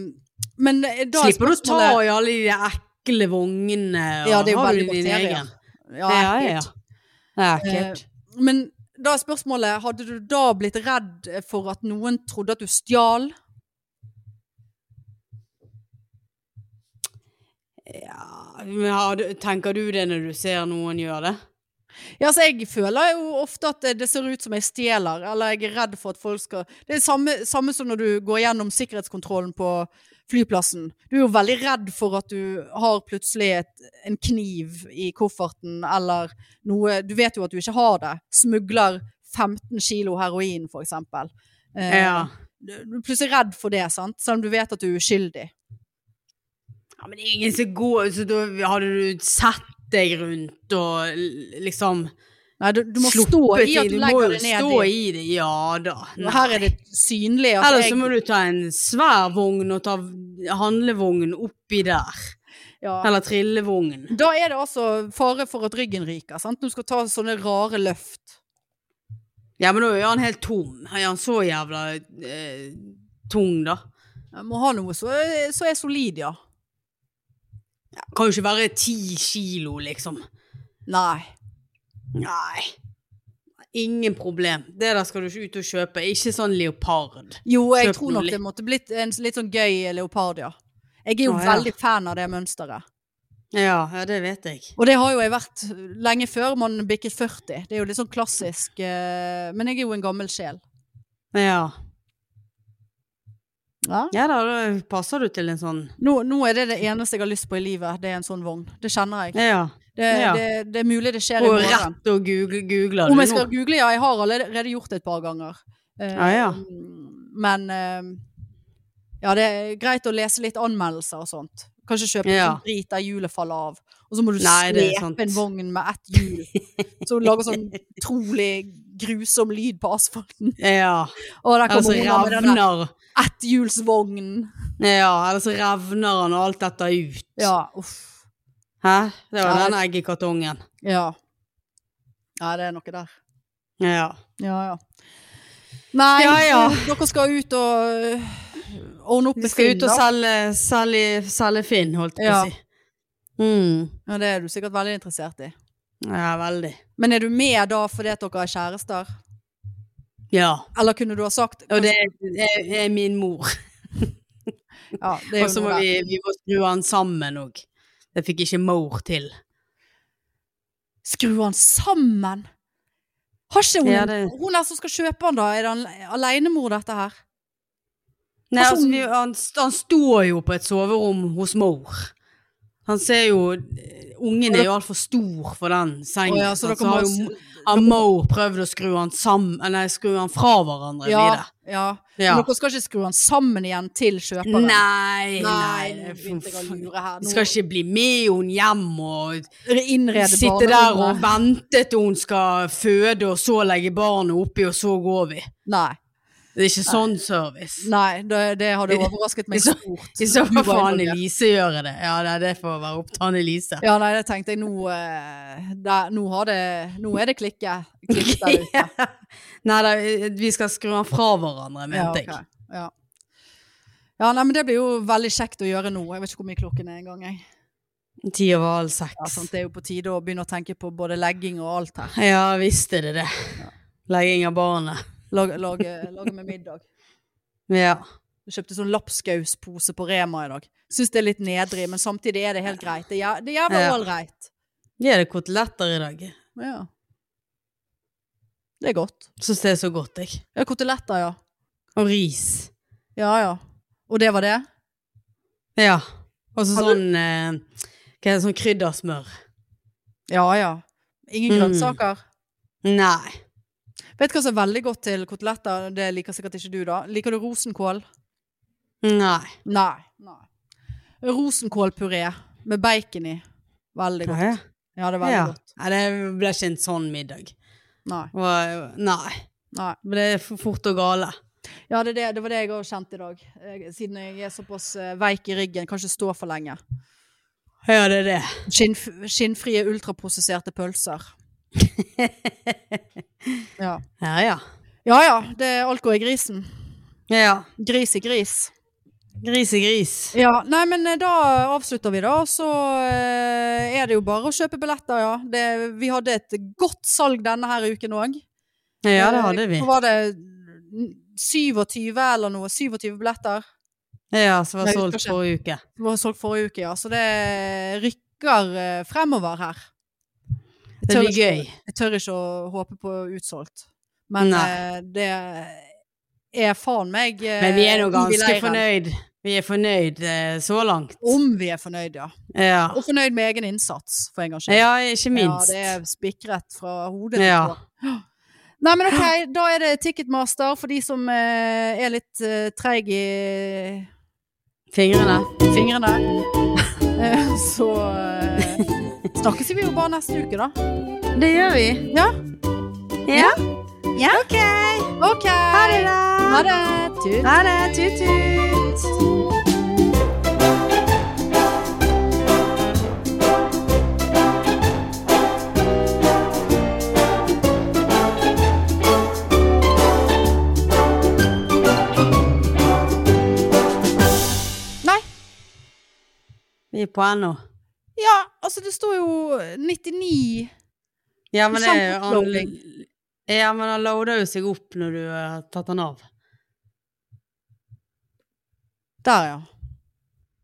[SPEAKER 1] men da er
[SPEAKER 2] Slipper du å ta
[SPEAKER 1] spørsmålet-
[SPEAKER 2] i alle de ekle vognene? og
[SPEAKER 1] Ja, det er jo
[SPEAKER 2] har du
[SPEAKER 1] veldig
[SPEAKER 2] din
[SPEAKER 1] bakterier.
[SPEAKER 2] egen?
[SPEAKER 1] Ja,
[SPEAKER 2] Ja, ja, ja.
[SPEAKER 1] ekkelt.
[SPEAKER 2] Det er ekkelt.
[SPEAKER 1] Men da er spørsmålet Hadde du da blitt redd for at noen trodde at du stjal?
[SPEAKER 2] Eh, Ja, men har du- tenker du det når du ser noen gjøre det?
[SPEAKER 1] Ja, altså Jeg føler jo ofte at det ser ut som jeg stjeler, eller jeg er redd for at folk skal Det er samme, samme som når du går gjennom sikkerhetskontrollen på flyplassen. Du er jo veldig redd for at du har plutselig et, en kniv i kofferten, eller noe Du vet jo at du ikke har det. Smugler 15 kilo heroin, for eksempel. Eh,
[SPEAKER 2] Ja.
[SPEAKER 1] Du du er plutselig redd for det, sant? selv om du vet at du er uskyldig.
[SPEAKER 2] ja men det er ingen som går Så da hadde du sett deg rundt og l- liksom
[SPEAKER 1] Nei, du, du må
[SPEAKER 2] sluppet
[SPEAKER 1] stå i at
[SPEAKER 2] i-
[SPEAKER 1] du
[SPEAKER 2] må
[SPEAKER 1] legger
[SPEAKER 2] jo
[SPEAKER 1] det ned
[SPEAKER 2] stå
[SPEAKER 1] i.
[SPEAKER 2] i det. Ja da.
[SPEAKER 1] Og Her er det synlig at
[SPEAKER 2] Eller
[SPEAKER 1] jeg
[SPEAKER 2] så må du ta en svær vogn og ta handlevognen oppi der.
[SPEAKER 1] ja.
[SPEAKER 2] Eller trillevogn.
[SPEAKER 1] Da er det altså fare for at ryggen ryker. sant? Du skal ta sånne rare løft.
[SPEAKER 2] Ja, men da er han helt tom. Er han så jævla eh, tung, da?
[SPEAKER 1] Jeg må ha noe så, så er solid, ja.
[SPEAKER 2] Kan jo ikke være ti kilo, liksom.
[SPEAKER 1] Nei.
[SPEAKER 2] Nei. Ingen problem. Det der skal du ikke ut og kjøpe. Ikke sånn leopard.
[SPEAKER 1] Jo, jeg
[SPEAKER 2] Kjøp
[SPEAKER 1] tror
[SPEAKER 2] noe
[SPEAKER 1] nok
[SPEAKER 2] litt.
[SPEAKER 1] det måtte blitt en litt sånn gøy leopard, ja. Jeg er jo
[SPEAKER 2] Å, ja.
[SPEAKER 1] veldig fan av det mønsteret.
[SPEAKER 2] Ja, ja det vet jeg.
[SPEAKER 1] Og det har jo jeg vært lenge før man bikket 40. Det er jo litt sånn klassisk. eh, Men jeg er jo en gammel sjel.
[SPEAKER 2] Ja.
[SPEAKER 1] Ja?
[SPEAKER 2] ja da, da passer du til en sånn
[SPEAKER 1] Nå, nå er det det eneste jeg har lyst på i livet. Det er en sånn vogn. Det kjenner jeg.
[SPEAKER 2] Ja.
[SPEAKER 1] Det,
[SPEAKER 2] Ja.
[SPEAKER 1] det, det er mulig det skjer i
[SPEAKER 2] Og
[SPEAKER 1] morgen.
[SPEAKER 2] rett og google, googler
[SPEAKER 1] Om
[SPEAKER 2] du
[SPEAKER 1] jeg skal
[SPEAKER 2] nå.
[SPEAKER 1] google, ja. Jeg har allerede gjort det et par ganger. Eh,
[SPEAKER 2] Ja, ja.
[SPEAKER 1] Men eh, ja, det er greit å lese litt anmeldelser og sånt. Kanskje kjøpe
[SPEAKER 2] Ja.
[SPEAKER 1] sånn drit der hjulet faller av. Og så må du
[SPEAKER 2] Nei, det er sant.
[SPEAKER 1] slepe en vogn med ett hjul. Så du lager sånn utrolig grusom lyd på asfalten.
[SPEAKER 2] Ja.
[SPEAKER 1] Og der
[SPEAKER 2] Eller så
[SPEAKER 1] kommer Ola med den der
[SPEAKER 2] revner
[SPEAKER 1] etthjulsvognen.
[SPEAKER 2] Ja, eller så revner han og alt dette ut.
[SPEAKER 1] Ja, uff.
[SPEAKER 2] Hæ? Det var
[SPEAKER 1] Ja.
[SPEAKER 2] den eggekartongen.
[SPEAKER 1] Ja. Ja, det er noe der.
[SPEAKER 2] Ja.
[SPEAKER 1] Ja, ja. Nei,
[SPEAKER 2] Ja, ja.
[SPEAKER 1] dere skal ut og øh, ordne opp
[SPEAKER 2] Vi
[SPEAKER 1] med
[SPEAKER 2] skal ut og
[SPEAKER 1] da.
[SPEAKER 2] selge, selge, selge Finn, holdt jeg
[SPEAKER 1] Ja.
[SPEAKER 2] på å si. Mm.
[SPEAKER 1] Ja, det er du sikkert veldig interessert i.
[SPEAKER 2] Ja, veldig.
[SPEAKER 1] Men er du med da fordi at dere er kjærester?
[SPEAKER 2] Ja.
[SPEAKER 1] Eller kunne du ha sagt
[SPEAKER 2] Og det er, det er min mor.
[SPEAKER 1] ja, det er
[SPEAKER 2] Og
[SPEAKER 1] jo
[SPEAKER 2] så må
[SPEAKER 1] noe der.
[SPEAKER 2] vi, vi må skru han sammen òg. Det fikk ikke mor til.
[SPEAKER 1] Skru han sammen! Har ikke hun
[SPEAKER 2] Ja, det-
[SPEAKER 1] Hun der som skal kjøpe han, da? Er det en alenemor, dette her?
[SPEAKER 2] Nei,
[SPEAKER 1] Altså,
[SPEAKER 2] altså, vi, han, st- han står jo på et soverom hos mor. Han ser jo Ungen er jo altfor stor for den sengen.
[SPEAKER 1] Å ja,
[SPEAKER 2] så
[SPEAKER 1] så dere
[SPEAKER 2] altså, har
[SPEAKER 1] må-
[SPEAKER 2] jo har mor prøvd å skru han sammen Nei, skru han fra hverandre.
[SPEAKER 1] Ja,
[SPEAKER 2] blir det.
[SPEAKER 1] ja.
[SPEAKER 2] Ja.
[SPEAKER 1] Men dere skal ikke skru han sammen igjen til kjøperen?
[SPEAKER 2] Nei,
[SPEAKER 1] Nei,
[SPEAKER 2] nei,
[SPEAKER 1] nå
[SPEAKER 2] nei
[SPEAKER 1] begynte jeg å lure her.
[SPEAKER 2] Vi skal ikke bli med henne hjem og
[SPEAKER 1] ikke innrede
[SPEAKER 2] sitte der og vente til hun skal føde, og så legge barnet oppi, og så går vi.
[SPEAKER 1] Nei,
[SPEAKER 2] Det er ikke sånn service.
[SPEAKER 1] nei det, det hadde overrasket meg
[SPEAKER 2] Så-
[SPEAKER 1] stort.
[SPEAKER 2] I så fall
[SPEAKER 1] Du
[SPEAKER 2] får
[SPEAKER 1] var involvert.
[SPEAKER 2] Annelise gjøre det. Ja, det, det får være opp til Annelise.
[SPEAKER 1] Ja, nei, det tenkte jeg. Nå, eh, der, nå, har det, nå er det klikke. Klikk der ute.
[SPEAKER 2] Nei da, vi skal skru han fra hverandre, mente
[SPEAKER 1] ok. Ja. ja, nei, men det blir jo veldig kjekt å gjøre nå. Jeg vet ikke hvor mye klokken er engang. jeg.
[SPEAKER 2] jeg. Ti over halv
[SPEAKER 1] Ja, sånn.
[SPEAKER 2] seks.
[SPEAKER 1] sant, det er jo på tide å begynne å tenke på både legging og alt her.
[SPEAKER 2] Ja visst er det det. Legging av barnet.
[SPEAKER 1] Lage, lage, lage med middag.
[SPEAKER 2] Ja.
[SPEAKER 1] Jeg kjøpte sånn lapskauspose på Rema i dag. Syns det er litt nedrig, men samtidig er det helt greit. Det er, jæ- det er jævla
[SPEAKER 2] Ja.
[SPEAKER 1] ålreit.
[SPEAKER 2] Gir det koteletter i dag.
[SPEAKER 1] Ja. Det er godt.
[SPEAKER 2] Syns det er så godt, jeg.
[SPEAKER 1] Ja, koteletter, ja.
[SPEAKER 2] Og ris.
[SPEAKER 1] Ja ja. Og det var det?
[SPEAKER 2] Ja. Og så
[SPEAKER 1] Har du-
[SPEAKER 2] sånn eh, Hva er det, sånn kryddersmør?
[SPEAKER 1] Ja ja. Ingen
[SPEAKER 2] Mm.
[SPEAKER 1] grønnsaker?
[SPEAKER 2] Nei.
[SPEAKER 1] Vet du hva som er veldig godt til koteletter? Det liker sikkert ikke du, da. Liker du rosenkål?
[SPEAKER 2] Nei.
[SPEAKER 1] Nei. Nei. Rosenkålpuré med bacon i. Veldig godt.
[SPEAKER 2] Ja,
[SPEAKER 1] Ja, det
[SPEAKER 2] ja.
[SPEAKER 1] er veldig
[SPEAKER 2] ja.
[SPEAKER 1] godt.
[SPEAKER 2] Nei, det ble ikke en sånn middag.
[SPEAKER 1] Nei.
[SPEAKER 2] Og, nei.
[SPEAKER 1] Nei.
[SPEAKER 2] Det er for fort og gale.
[SPEAKER 1] Ja, det, er det, det var det jeg òg kjente i dag. Jeg, siden jeg er såpass eh, veik i ryggen, kan ikke stå for lenge.
[SPEAKER 2] Ja, det er det.
[SPEAKER 1] Skinnf skinnfrie, ultraprosesserte pølser.
[SPEAKER 2] Ja,
[SPEAKER 1] ja.
[SPEAKER 2] ja.
[SPEAKER 1] ja ja, det er alko i grisen.
[SPEAKER 2] Ja, ja.
[SPEAKER 1] Gris i gris.
[SPEAKER 2] Gris i gris.
[SPEAKER 1] Ja, nei, men eh, da avslutter vi da, og så eh, er det jo bare å kjøpe billetter, ja. Det, vi hadde et godt salg denne her uken òg.
[SPEAKER 2] Ja, det hadde vi.
[SPEAKER 1] Hva var det? 27 eller noe? 27 billetter?
[SPEAKER 2] Ja, som var
[SPEAKER 1] Nei,
[SPEAKER 2] solgt
[SPEAKER 1] kanskje.
[SPEAKER 2] forrige uke.
[SPEAKER 1] Det var solgt forrige uke, ja. Så det rykker eh, fremover her. Jeg
[SPEAKER 2] Det
[SPEAKER 1] tør
[SPEAKER 2] blir
[SPEAKER 1] ikke-
[SPEAKER 2] gøy.
[SPEAKER 1] Jeg tør ikke å håpe på utsolgt. Men
[SPEAKER 2] Nei.
[SPEAKER 1] eh, det er faen meg eh,
[SPEAKER 2] Men vi er nå
[SPEAKER 1] om vi
[SPEAKER 2] ganske
[SPEAKER 1] leier den.
[SPEAKER 2] fornøyd. Vi er fornøyd eh, så langt.
[SPEAKER 1] Om vi er fornøyd, ja.
[SPEAKER 2] Ja.
[SPEAKER 1] Og fornøyd med egen innsats, for en gangs skyld.
[SPEAKER 2] ja, ikke minst.
[SPEAKER 1] Ja, det er spikrett fra hodet.
[SPEAKER 2] Ja.
[SPEAKER 1] Ja. Nei, men ok, da er det Ticketmaster for de som eh, er litt eh, treig i
[SPEAKER 2] Fingrene.
[SPEAKER 1] fingrene. Eh, så eh, snakkes vi jo bare neste uke, da.
[SPEAKER 2] Det gjør vi.
[SPEAKER 1] Ja.
[SPEAKER 2] Ja.
[SPEAKER 1] Ja.
[SPEAKER 2] Ok.
[SPEAKER 1] OK.
[SPEAKER 2] Ha det, da.
[SPEAKER 1] Ha det. Tut.
[SPEAKER 2] Ha det. Tut-tut.
[SPEAKER 1] Nei.
[SPEAKER 2] Vi er på ennå.
[SPEAKER 1] Ja, altså det står jo 99
[SPEAKER 2] Ja, men det er jo
[SPEAKER 1] Kjempeopploading.
[SPEAKER 2] han- Ja, men han loader jo seg opp når du har tatt han av.
[SPEAKER 1] Der, ja.